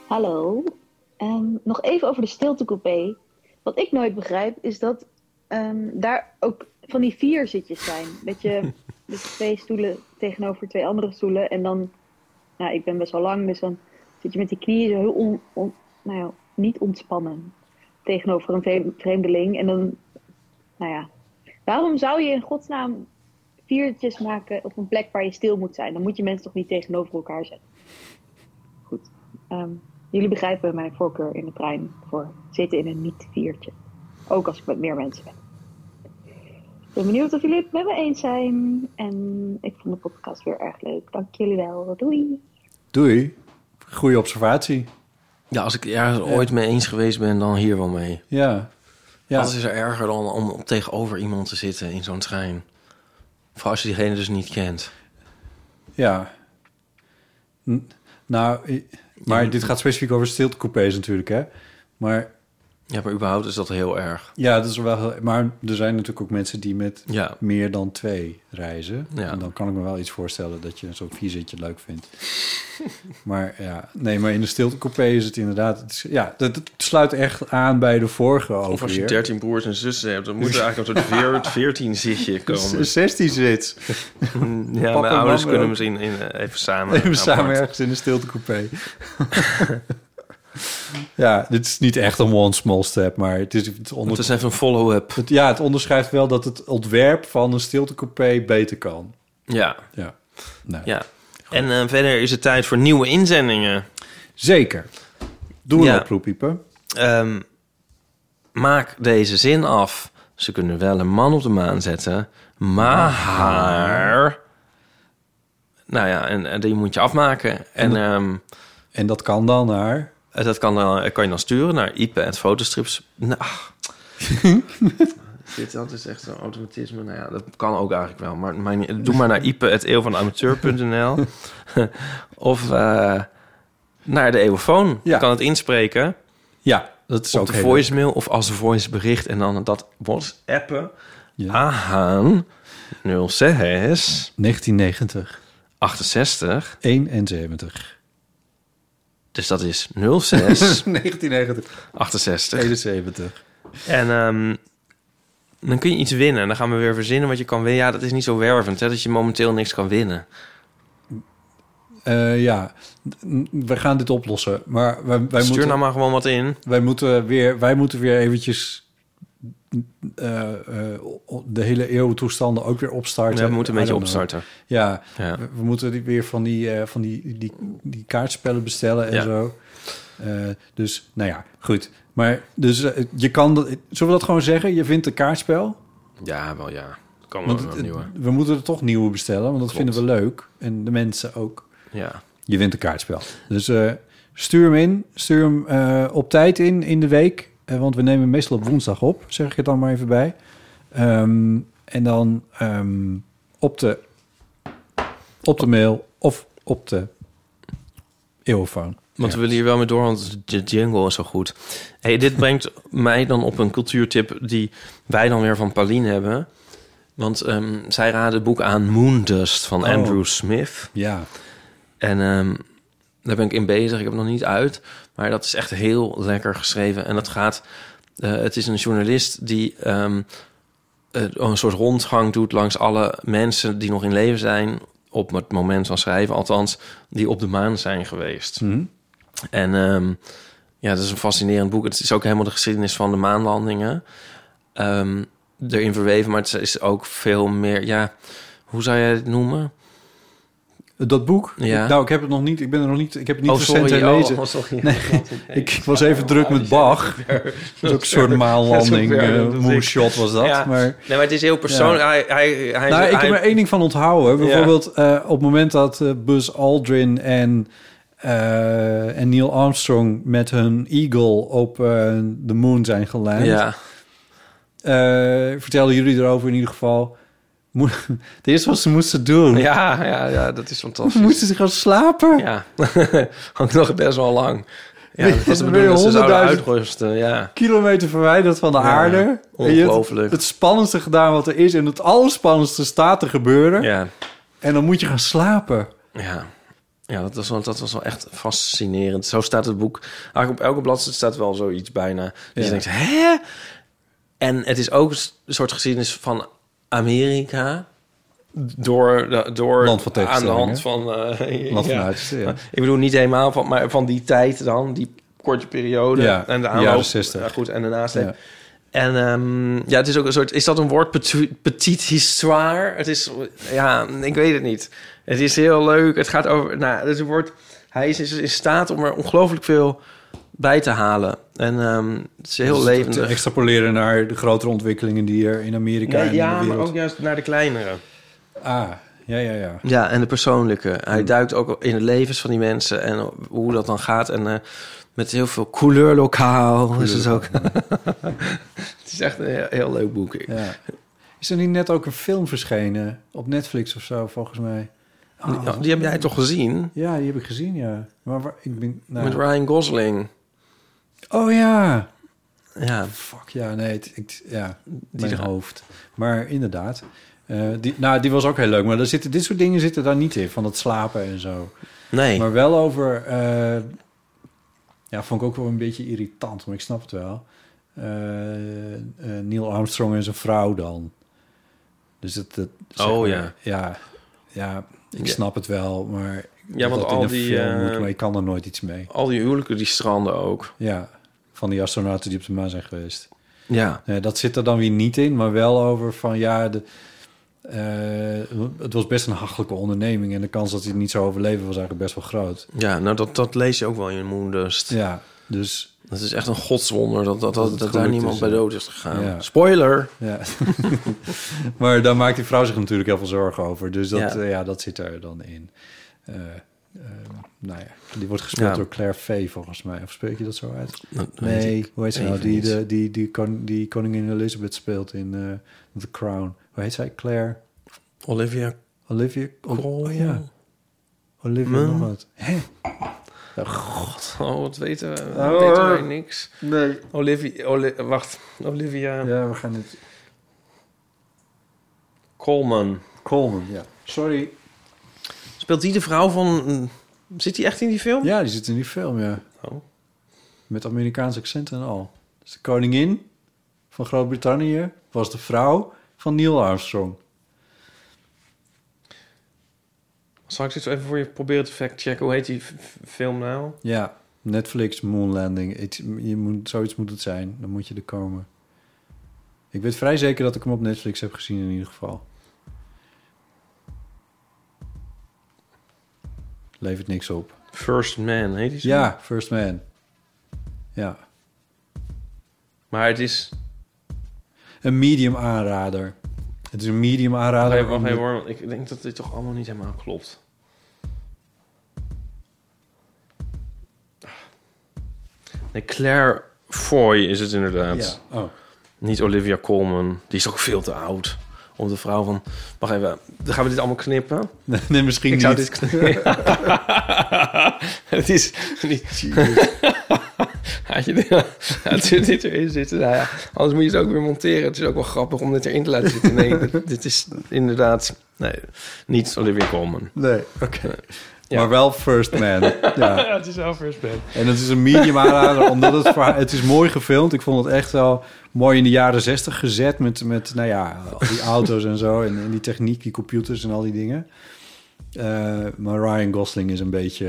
Hallo. Ehm, nog even over de stiltecoupé. Wat ik nooit begrijp is dat ehm, daar ook van die vier zitjes zijn. Dat je dus twee stoelen tegenover twee andere stoelen. En dan, nou ik ben best wel lang, dus dan zit je met die knieën zo heel on, on- nou ja, niet ontspannen tegenover een vreem- vreemdeling. En dan, nou ja, waarom zou je in godsnaam viertjes maken op een plek waar je stil moet zijn? Dan moet je mensen toch niet tegenover elkaar zetten. Ehm, jullie begrijpen mijn voorkeur in de trein voor zitten in een niet-viertje. Ook als ik met meer mensen ben. Ik ben benieuwd of jullie het met me eens zijn. En ik vond de podcast weer erg leuk. Dank jullie wel. Doei.
Doei. Goeie observatie.
Ja, als ik ergens ooit mee eens geweest ben, dan hier wel mee.
Ja. Ja.
Wat is er erger dan om tegenover iemand te zitten in zo'n trein? Vooral als je diegene dus niet kent.
Ja. N- nou, i- maar dit gaat specifiek over stiltecoupés natuurlijk, hè? Maar...
Ja, maar überhaupt is dat heel erg.
Ja, dat is wel... heel- Maar er zijn natuurlijk ook mensen die met
Ja.
meer dan twee reizen.
Ja.
En dan kan ik me wel iets voorstellen dat je zo'n vierzitje leuk vindt. maar ja, nee, maar in de stiltecoupé is het inderdaad... het is- ja, dat, dat sluit echt aan bij de vorige over
Of als je 13 broers en zussen hebt, dan moet er eigenlijk een soort veer- 14 zitje komen. Hm,
16 zit.
Ja,
Papa
mijn
en
ouders
mama
kunnen
ook.
misschien in, eh, even samen.
Even samen
apart.
ergens in de stiltecoupé. ja, dit is niet echt een one small step, maar het is... Het, onder...
Het is even een follow-up.
Het- ja, het onderschrijft wel dat het ontwerp van een stiltecoupé beter kan.
Ja.
Ja.
ja. En eh, verder is het tijd voor nieuwe inzendingen.
Zeker. Doe een
Ja.
oproep, Ipe.
Ehm, maak deze zin af. Ze kunnen wel een man op de maan zetten, maar... Nou ja, en, en die moet je afmaken. En, ehm,
En dat kan dan naar...
Eh, Dat kan, dan, kan je dan sturen naar Ipe en fotostrips. Nou, Dit, dat is echt zo'n automatisme. Nou ja, dat kan ook eigenlijk wel. Maar, maar niet- doe maar naar ipe.eeuwvanamateur.nl of eh, naar de Eeuwfoon. Je kan het inspreken.
Ja, dat is
Op
ook
de
heel
voicemail of als voicebericht. En dan dat WhatsAppen aan 06
1990
68.
71.
Dus dat is 06
1990.
68.
71.
En ehm, dan kun je iets winnen. Dan gaan we weer verzinnen wat je kan winnen. Ja, dat is niet zo wervend, hè, dat je momenteel niks kan winnen.
Eh, ja, N- we gaan dit oplossen. Maar wij, wij
Stuur
moeten...
nou maar gewoon wat in.
Wij moeten weer, wij moeten weer eventjes eh, eh, de hele eeuwtoestanden ook weer opstarten.
Ja, we moeten een
I
beetje
don't know.
opstarten.
Ja,
Ja.
We, we moeten die- weer van die, eh, van die, die, die kaartspellen bestellen en
Ja.
zo. Eh, dus, nou ja, goed. Maar dus eh, je kan... Dat, zullen we dat gewoon zeggen? Je vindt een kaartspel?
Ja, wel ja. Kan wel
Want
een
het-
nieuwe.
we moeten er toch nieuwe bestellen, want dat vinden
Klopt.
we leuk. En de mensen ook.
Ja.
Je wint een kaartspel. Dus eh, stuur hem in. Stuur hem eh, op tijd in, in de week. Eh, want we nemen meestal op woensdag op, zeg ik het dan maar even bij. Ehm, en dan ehm, op, de, op de mail of op de eeuwfoon.
Want we willen hier wel mee door, want de jingle is zo goed. Hey, dit brengt mij dan op een cultuurtip die wij dan weer van Pauline hebben. Want ehm, zij raadde het boek aan Moondust van
Oh.
Andrew Smith.
Ja.
En ehm, daar ben ik in bezig. Ik heb het nog niet uit. Maar dat is echt heel lekker geschreven. En dat gaat... eh, het is een journalist die ehm, eh, een soort rondgang doet langs alle mensen die nog in leven zijn. Op het moment van schrijven, althans, die op de maan zijn geweest.
Mhm.
En ehm, ja, dat is een fascinerend boek. Het is ook helemaal de geschiedenis van de maanlandingen ehm, erin verweven. Maar het is ook veel meer, ja, hoe zou jij het noemen?
dat boek.
Ja.
Ik- nou, ik heb het nog niet. Ik ben er nog niet. Ik heb het niet
Oh,
recent
sorry. Oh,
herlezen.
oh, sorry.
Nee, ik was even druk met Bach. Dat is ook een soort maanlanding. eh, moonshot was dat.
Ja.
Maar
Nee, maar het is heel persoonlijk.
Ja.
Hij, hij, hij,
nou, ik
hij-
heb er één ding van onthouden.
Ja.
Bijvoorbeeld eh, op het moment dat eh, Buzz Aldrin en, eh, en Neil Armstrong met hun Eagle op eh, de moon zijn geland.
Ja.
eh, vertelden jullie erover in ieder geval. Mo- Het eerste wat ze moesten doen.
Ja, ja, ja, dat is
Ze
fantastisch.
moesten ze gaan slapen.
Ja, hangt nog best wel lang. Ja,
Weer-
dat was de
weer
bedoeling, dat ze
100.000
zouden uitrusten, ja.
Kilometer verwijderd van de
Ja,
aarde. En je hebt
ongelooflijk.
Het spannendste gedaan wat er is. En het allerspannendste staat te gebeuren.
Ja.
En dan moet je gaan slapen.
Ja, ja dat, was wel, dat was wel echt fascinerend. Zo staat het boek. Eigenlijk op elke bladzijde staat wel zoiets bijna. Dus
Ja.
je denkt, hè? En het is ook een soort geschiedenis van Amerika... Door, de- door
Land van
aan de
tegenstellingen.
hand van... eh,
Land van uitersten, ja.
Ik bedoel, niet helemaal van, maar van die tijd dan. Die korte periode.
Ja,
en de
jaren
aanloop.
60.
Ja, goed, en daarnaast.
Ja.
En ehm, ja, het is ook een soort... Is dat een woord? Petit, petit histoire? Het is... Ja, ik weet het niet. Het is heel leuk. Het gaat over... Nou, het wordt... Hij is is in staat om er ongelooflijk veel bij te halen. En ehm, het is heel
Dus te-
levendig.
Te extrapoleren naar de grotere ontwikkelingen die er in Amerika
Nee,
en in
ja,
de
maar
wereld.
ook juist naar de kleinere.
Ah, ja, ja, ja.
Ja, en de persoonlijke.
Hmm.
Hij duikt ook in de levens van die mensen en hoe dat dan gaat. En eh, met heel veel couleur lokaal is het ook. het is echt een heel, heel leuk boek.
Ja. Is er niet net ook een film verschenen op Netflix of zo, volgens mij?
Die- oh, die heb jij toch gezien?
Ja, die heb ik gezien, ja. Maar waar, ik ben, nou-
Met Ryan Gosling.
Oh ja.
Ja.
Fuck ja, nee. het- ik, ja, mijn
dra-
hoofd. Maar inderdaad. eh, die, nou, die was ook heel leuk. Maar daar zitten, dit soort dingen zitten daar niet in. Van dat slapen en zo.
Nee.
Maar wel over... eh, ja, vond ik ook wel een beetje irritant. Maar ik snap het wel. Eh, eh, Neil Armstrong en zijn vrouw dan. Dus dat... dat zeg
Oh,
maar,
ja.
Ja. Ja, ik
Ja.
snap het wel. Maar...
Ja, want
dat in
al
een
die,
film moet,
eh,
maar je kan er nooit iets mee.
Al die huwelijken die stranden ook.
Ja, van die astronauten die op de maan zijn geweest.
Ja.
Nee, dat zit er dan weer niet in, maar wel over van ja, de, eh, het was best een hachelijke onderneming en de kans dat hij het niet zou overleven was eigenlijk best wel groot.
Ja, nou dat, dat lees je ook wel in Moondust.
Ja, dus.
Dat is echt een godswonder dat, dat, dat,
het
dat daar
gelukt
niemand
is,
bij
ja.
dood is gegaan.
Ja.
Spoiler!
Ja. maar daar maakt die vrouw zich natuurlijk heel veel zorgen over, dus dat,
Ja.
ja, ja dat zit er dan in. Eh, eh, nou ja, die wordt gespeeld
Ja.
door Claire Fay volgens mij. Of spreek je dat zo uit?
Dat weet
nee,
ik
hoe heet ze nou?
even
Die,
niet.
de, die, die, kon, die koningin Elizabeth speelt in eh, The Crown. Hoe heet zij? Claire?
Olivia
Olivia...
Cromwell.
Oh ja. Olivia
Hmm.
nog wat. Hè?
God, oh, wat weten we?
Oh,
Wat weten wij
hoor.
niks.
Nee.
Olivia, Oli- wacht, Olivia
Ja, we gaan het...
Colman.
Coleman, ja. Sorry.
Speelt die de vrouw van... hm, Zit die echt in die film?
Ja, die zit in die film, ja.
Oh.
Met Amerikaans accent en al. Dus de koningin van Groot-Brittannië was de vrouw van Neil Armstrong.
Zal ik dit even voor je proberen te fact-checken? Hoe heet die f- f- film nou?
Ja, Netflix, Moonlanding. Het- je moet, zoiets moet het zijn. Dan moet je er komen. Ik weet vrij zeker dat ik hem op Netflix heb gezien in ieder geval. Levert niks op.
First Man, heet die zo?
Ja, First Man. Ja.
Maar het is...
Een medium aanrader. Het is een medium aanrader.
Wacht even, wacht
omdat-
even hoor, want ik denk dat dit toch allemaal niet helemaal klopt. Ah. Nee, Claire Foy is het inderdaad.
Ja, oh.
Niet Olivia Colman. Die is ook veel te oud. Om de vrouw van... Wacht even, dan gaan we dit allemaal knippen?
Nee, nee, misschien
ik zou
niet.
dit knippen. het is niet... Had je dit- had je dit erin zitten? Nou ja, anders moet je het ook weer monteren. Het is ook wel grappig om dit erin te laten zitten. Nee, dit- dit is inderdaad... Nee, niet Olivia Colman.
Nee, oké. Maar wel First Man. ja.
het is wel first band.
En het is een medium aanrader, omdat het, verhaal- het is mooi gefilmd. Ik vond het echt wel mooi in de jaren zestig gezet met, met nou ja, al die auto's en zo. En, en die techniek, die computers en al die dingen. Eh, maar Ryan Gosling is een beetje...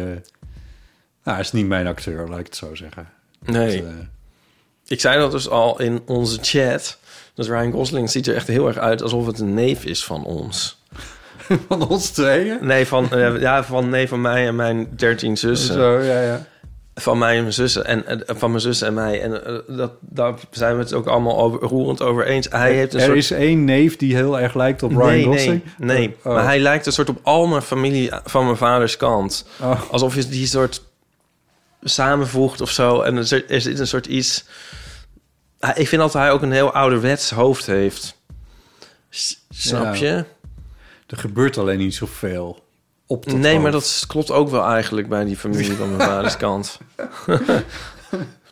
Nou, hij is niet mijn acteur, laat ik het zo zeggen.
Nee.
Dat, eh,
Ik zei dat dus al in Dus onze chat. Dat Ryan Gosling ziet er echt heel erg uit alsof het een neef is van ons.
Van ons tweeën?
Nee, van, eh, ja, van, nee, van mij en mijn dertien zussen.
Zo, ja, ja.
Van mij en mijn zussen en eh, van mijn zussen en mij. En eh, dat, daar zijn we het ook allemaal over, roerend over eens. Hij heeft een
er
soort...
is één neef die heel erg lijkt op Ryan
nee,
Gosling.
Nee, nee.
Oh.
maar hij lijkt een soort op al mijn familie eh, van mijn vaders kant.
Oh.
Alsof je die soort samenvoegt of zo. En er zit- er zit een soort iets... Hij- Ik vind dat hij ook een heel ouderwets hoofd heeft. S- Snap
Ja.
je?
Er gebeurt alleen niet zoveel op dat
nee, maar
hoofd.
dat klopt ook wel eigenlijk bij die familie van mijn vaders kant.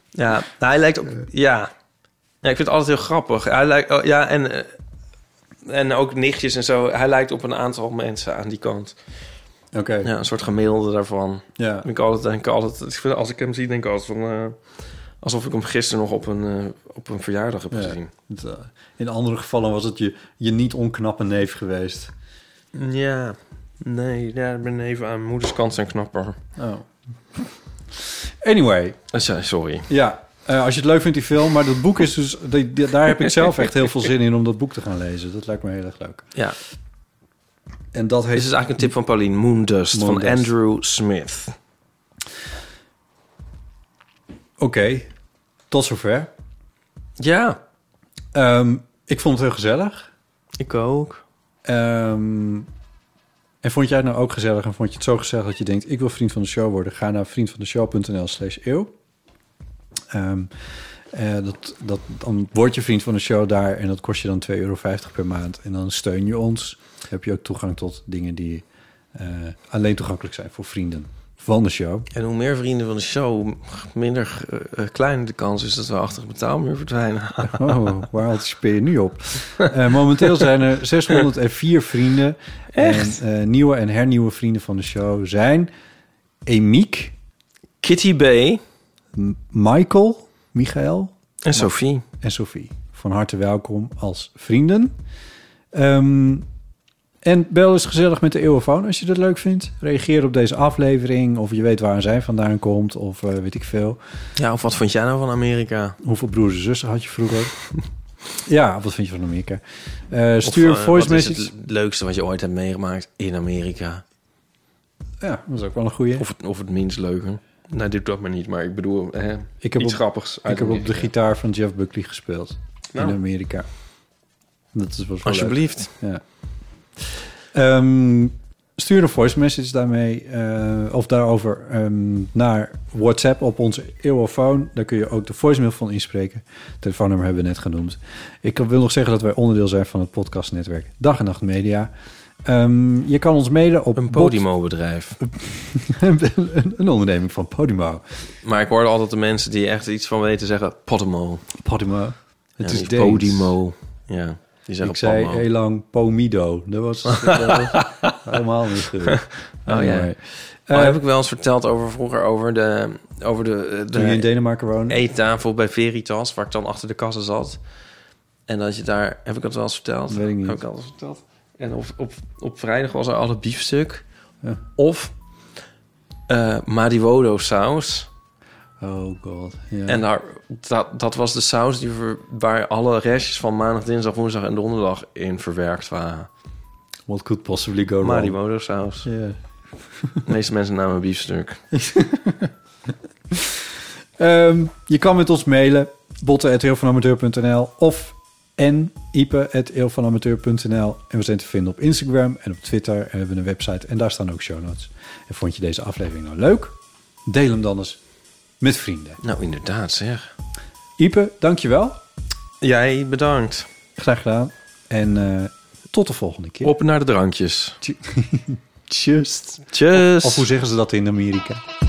ja, nou, hij lijkt op... Ja. ja, ik vind het altijd heel grappig. Hij lijkt... oh, ja, en, eh, en ook nichtjes en zo. Hij lijkt op een aantal mensen aan die kant.
Oké.
Ja, een soort gemiddelde daarvan.
Ja.
Vind Ik, altijd, denk ik, altijd, ik vind, als ik hem zie, denk ik altijd van... eh, alsof ik hem gisteren nog op een, eh, op een verjaardag heb
Ja.
gezien.
Het, eh, In andere gevallen was het je, je niet onknappe neef geweest.
Ja, nee. Ja, ik ben even aan mijn moeders kant zijn knapper.
Oh. Anyway.
Eh, Sorry.
Ja, eh, als je het leuk vindt, die film. Maar dat boek is dus... die- die- daar heb ik zelf echt heel veel zin in om dat boek te gaan lezen. Dat lijkt me heel erg leuk.
Ja.
En dat heet...
Dit is eigenlijk een tip van Pauline. Moondust, van
Moondust.
Andrew Smith.
Oké, tot zover. Ehm,
Ja.
ik vond het heel gezellig.
Ik ook.
Ehm, en vond jij het nou ook gezellig en vond je het zo gezellig dat je denkt... ik wil vriend van de show worden? Ga naar vriendvandeshow.nl slash eeuw. Ehm, eh, dat, dat, dan word je vriend van de show daar en dat kost je dan 2,50 euro per maand. En dan steun je ons. Dan heb je ook toegang tot dingen die eh, alleen toegankelijk zijn voor vrienden van de show.
En hoe meer vrienden van de show, hoe minder eh, eh, kleiner de kans is dat we achter het betaalmuur verdwijnen.
Oh, waar anticipeer je nu op? Eh, momenteel zijn er 604 vrienden.
Echt?
En, eh, nieuwe en hernieuwe vrienden van de show zijn... Emiek.
Kitty B.
Michael. Michael.
En Sophie.
En Sophie. Van harte welkom als vrienden. Ehm, en bel eens gezellig met de Eeuwenfoon als je dat leuk vindt. Reageer op deze aflevering. Of je weet waar zij vandaan komt. Of eh, weet ik veel.
Ja, of wat vond jij nou van Amerika?
Hoeveel broers en zussen had je vroeger? ja, wat vind je van Amerika? Eh, stuur
Of,
een
eh,
voice
wat is
message.
het leukste wat je ooit hebt meegemaakt in Amerika?
Ja, dat is ook wel een goeie.
Of het, of het minst leuke. Nou, dit doet me niet, maar ik bedoel, hè,
Ik heb
iets
op,
grappigs. uit
Ik heb op de
Amerika.
gitaar van Jeff Buckley gespeeld.
Nou.
In Amerika. Dat is wel leuk.
Alsjeblieft.
Ja. Ehm, stuur een voice message daarmee eh, of daarover ehm, naar WhatsApp op onze eeuwofoon. Daar kun je ook de voicemail van inspreken. Telefoonnummer hebben we net genoemd. Ik wil nog zeggen dat wij onderdeel zijn van het podcastnetwerk Dag en Nacht Media. Ehm, je kan ons mailen op een
Podimo-bedrijf.
een onderneming van Podimo.
Maar ik hoorde altijd de mensen die echt iets van weten zeggen, Podimo.
Podimo.
Ja,
Het is
die
Deens.
Podimo. Ja, die zeggen
Ik zei
Podmo.
heel lang Pomido. Dat was eh, helemaal niet goed.
Oh ja.
Anyway.
Oh,
Eh,
heb ik wel eens verteld over vroeger over de over de, de
Toen je in Denemarken woonde?
eettafel bij Veritas, waar ik dan achter de kassen zat. En dat je daar heb ik dat wel eens verteld.
Weet ik niet.
Heb ik dat wel eens verteld. En op, op, op vrijdag was er alle biefstuk of eh Mariwodo saus.
Oh god. Ja.
En daar, dat, dat was de saus die ver- waar alle restjes van maandag, dinsdag, woensdag en donderdag in verwerkt waren.
What could possibly go wrong?
Mariwodo saus.
Ja.
De meeste mensen namen biefstuk.
Ehm, je kan met ons mailen. botten.eeuwvanamateur.nl of en e ipe.eeuwvanamateur.nl En we zijn te vinden op Instagram en op Twitter. En we hebben een website en daar staan ook show notes. En vond je deze aflevering nou leuk? Deel hem dan eens met vrienden.
Nou, inderdaad zeg.
Ipe, dankjewel.
Jij bedankt.
Graag gedaan. En eh, tot de volgende keer.
Op naar de drankjes.
Tjust.
Tjus.
Of hoe zeggen ze dat in Amerika?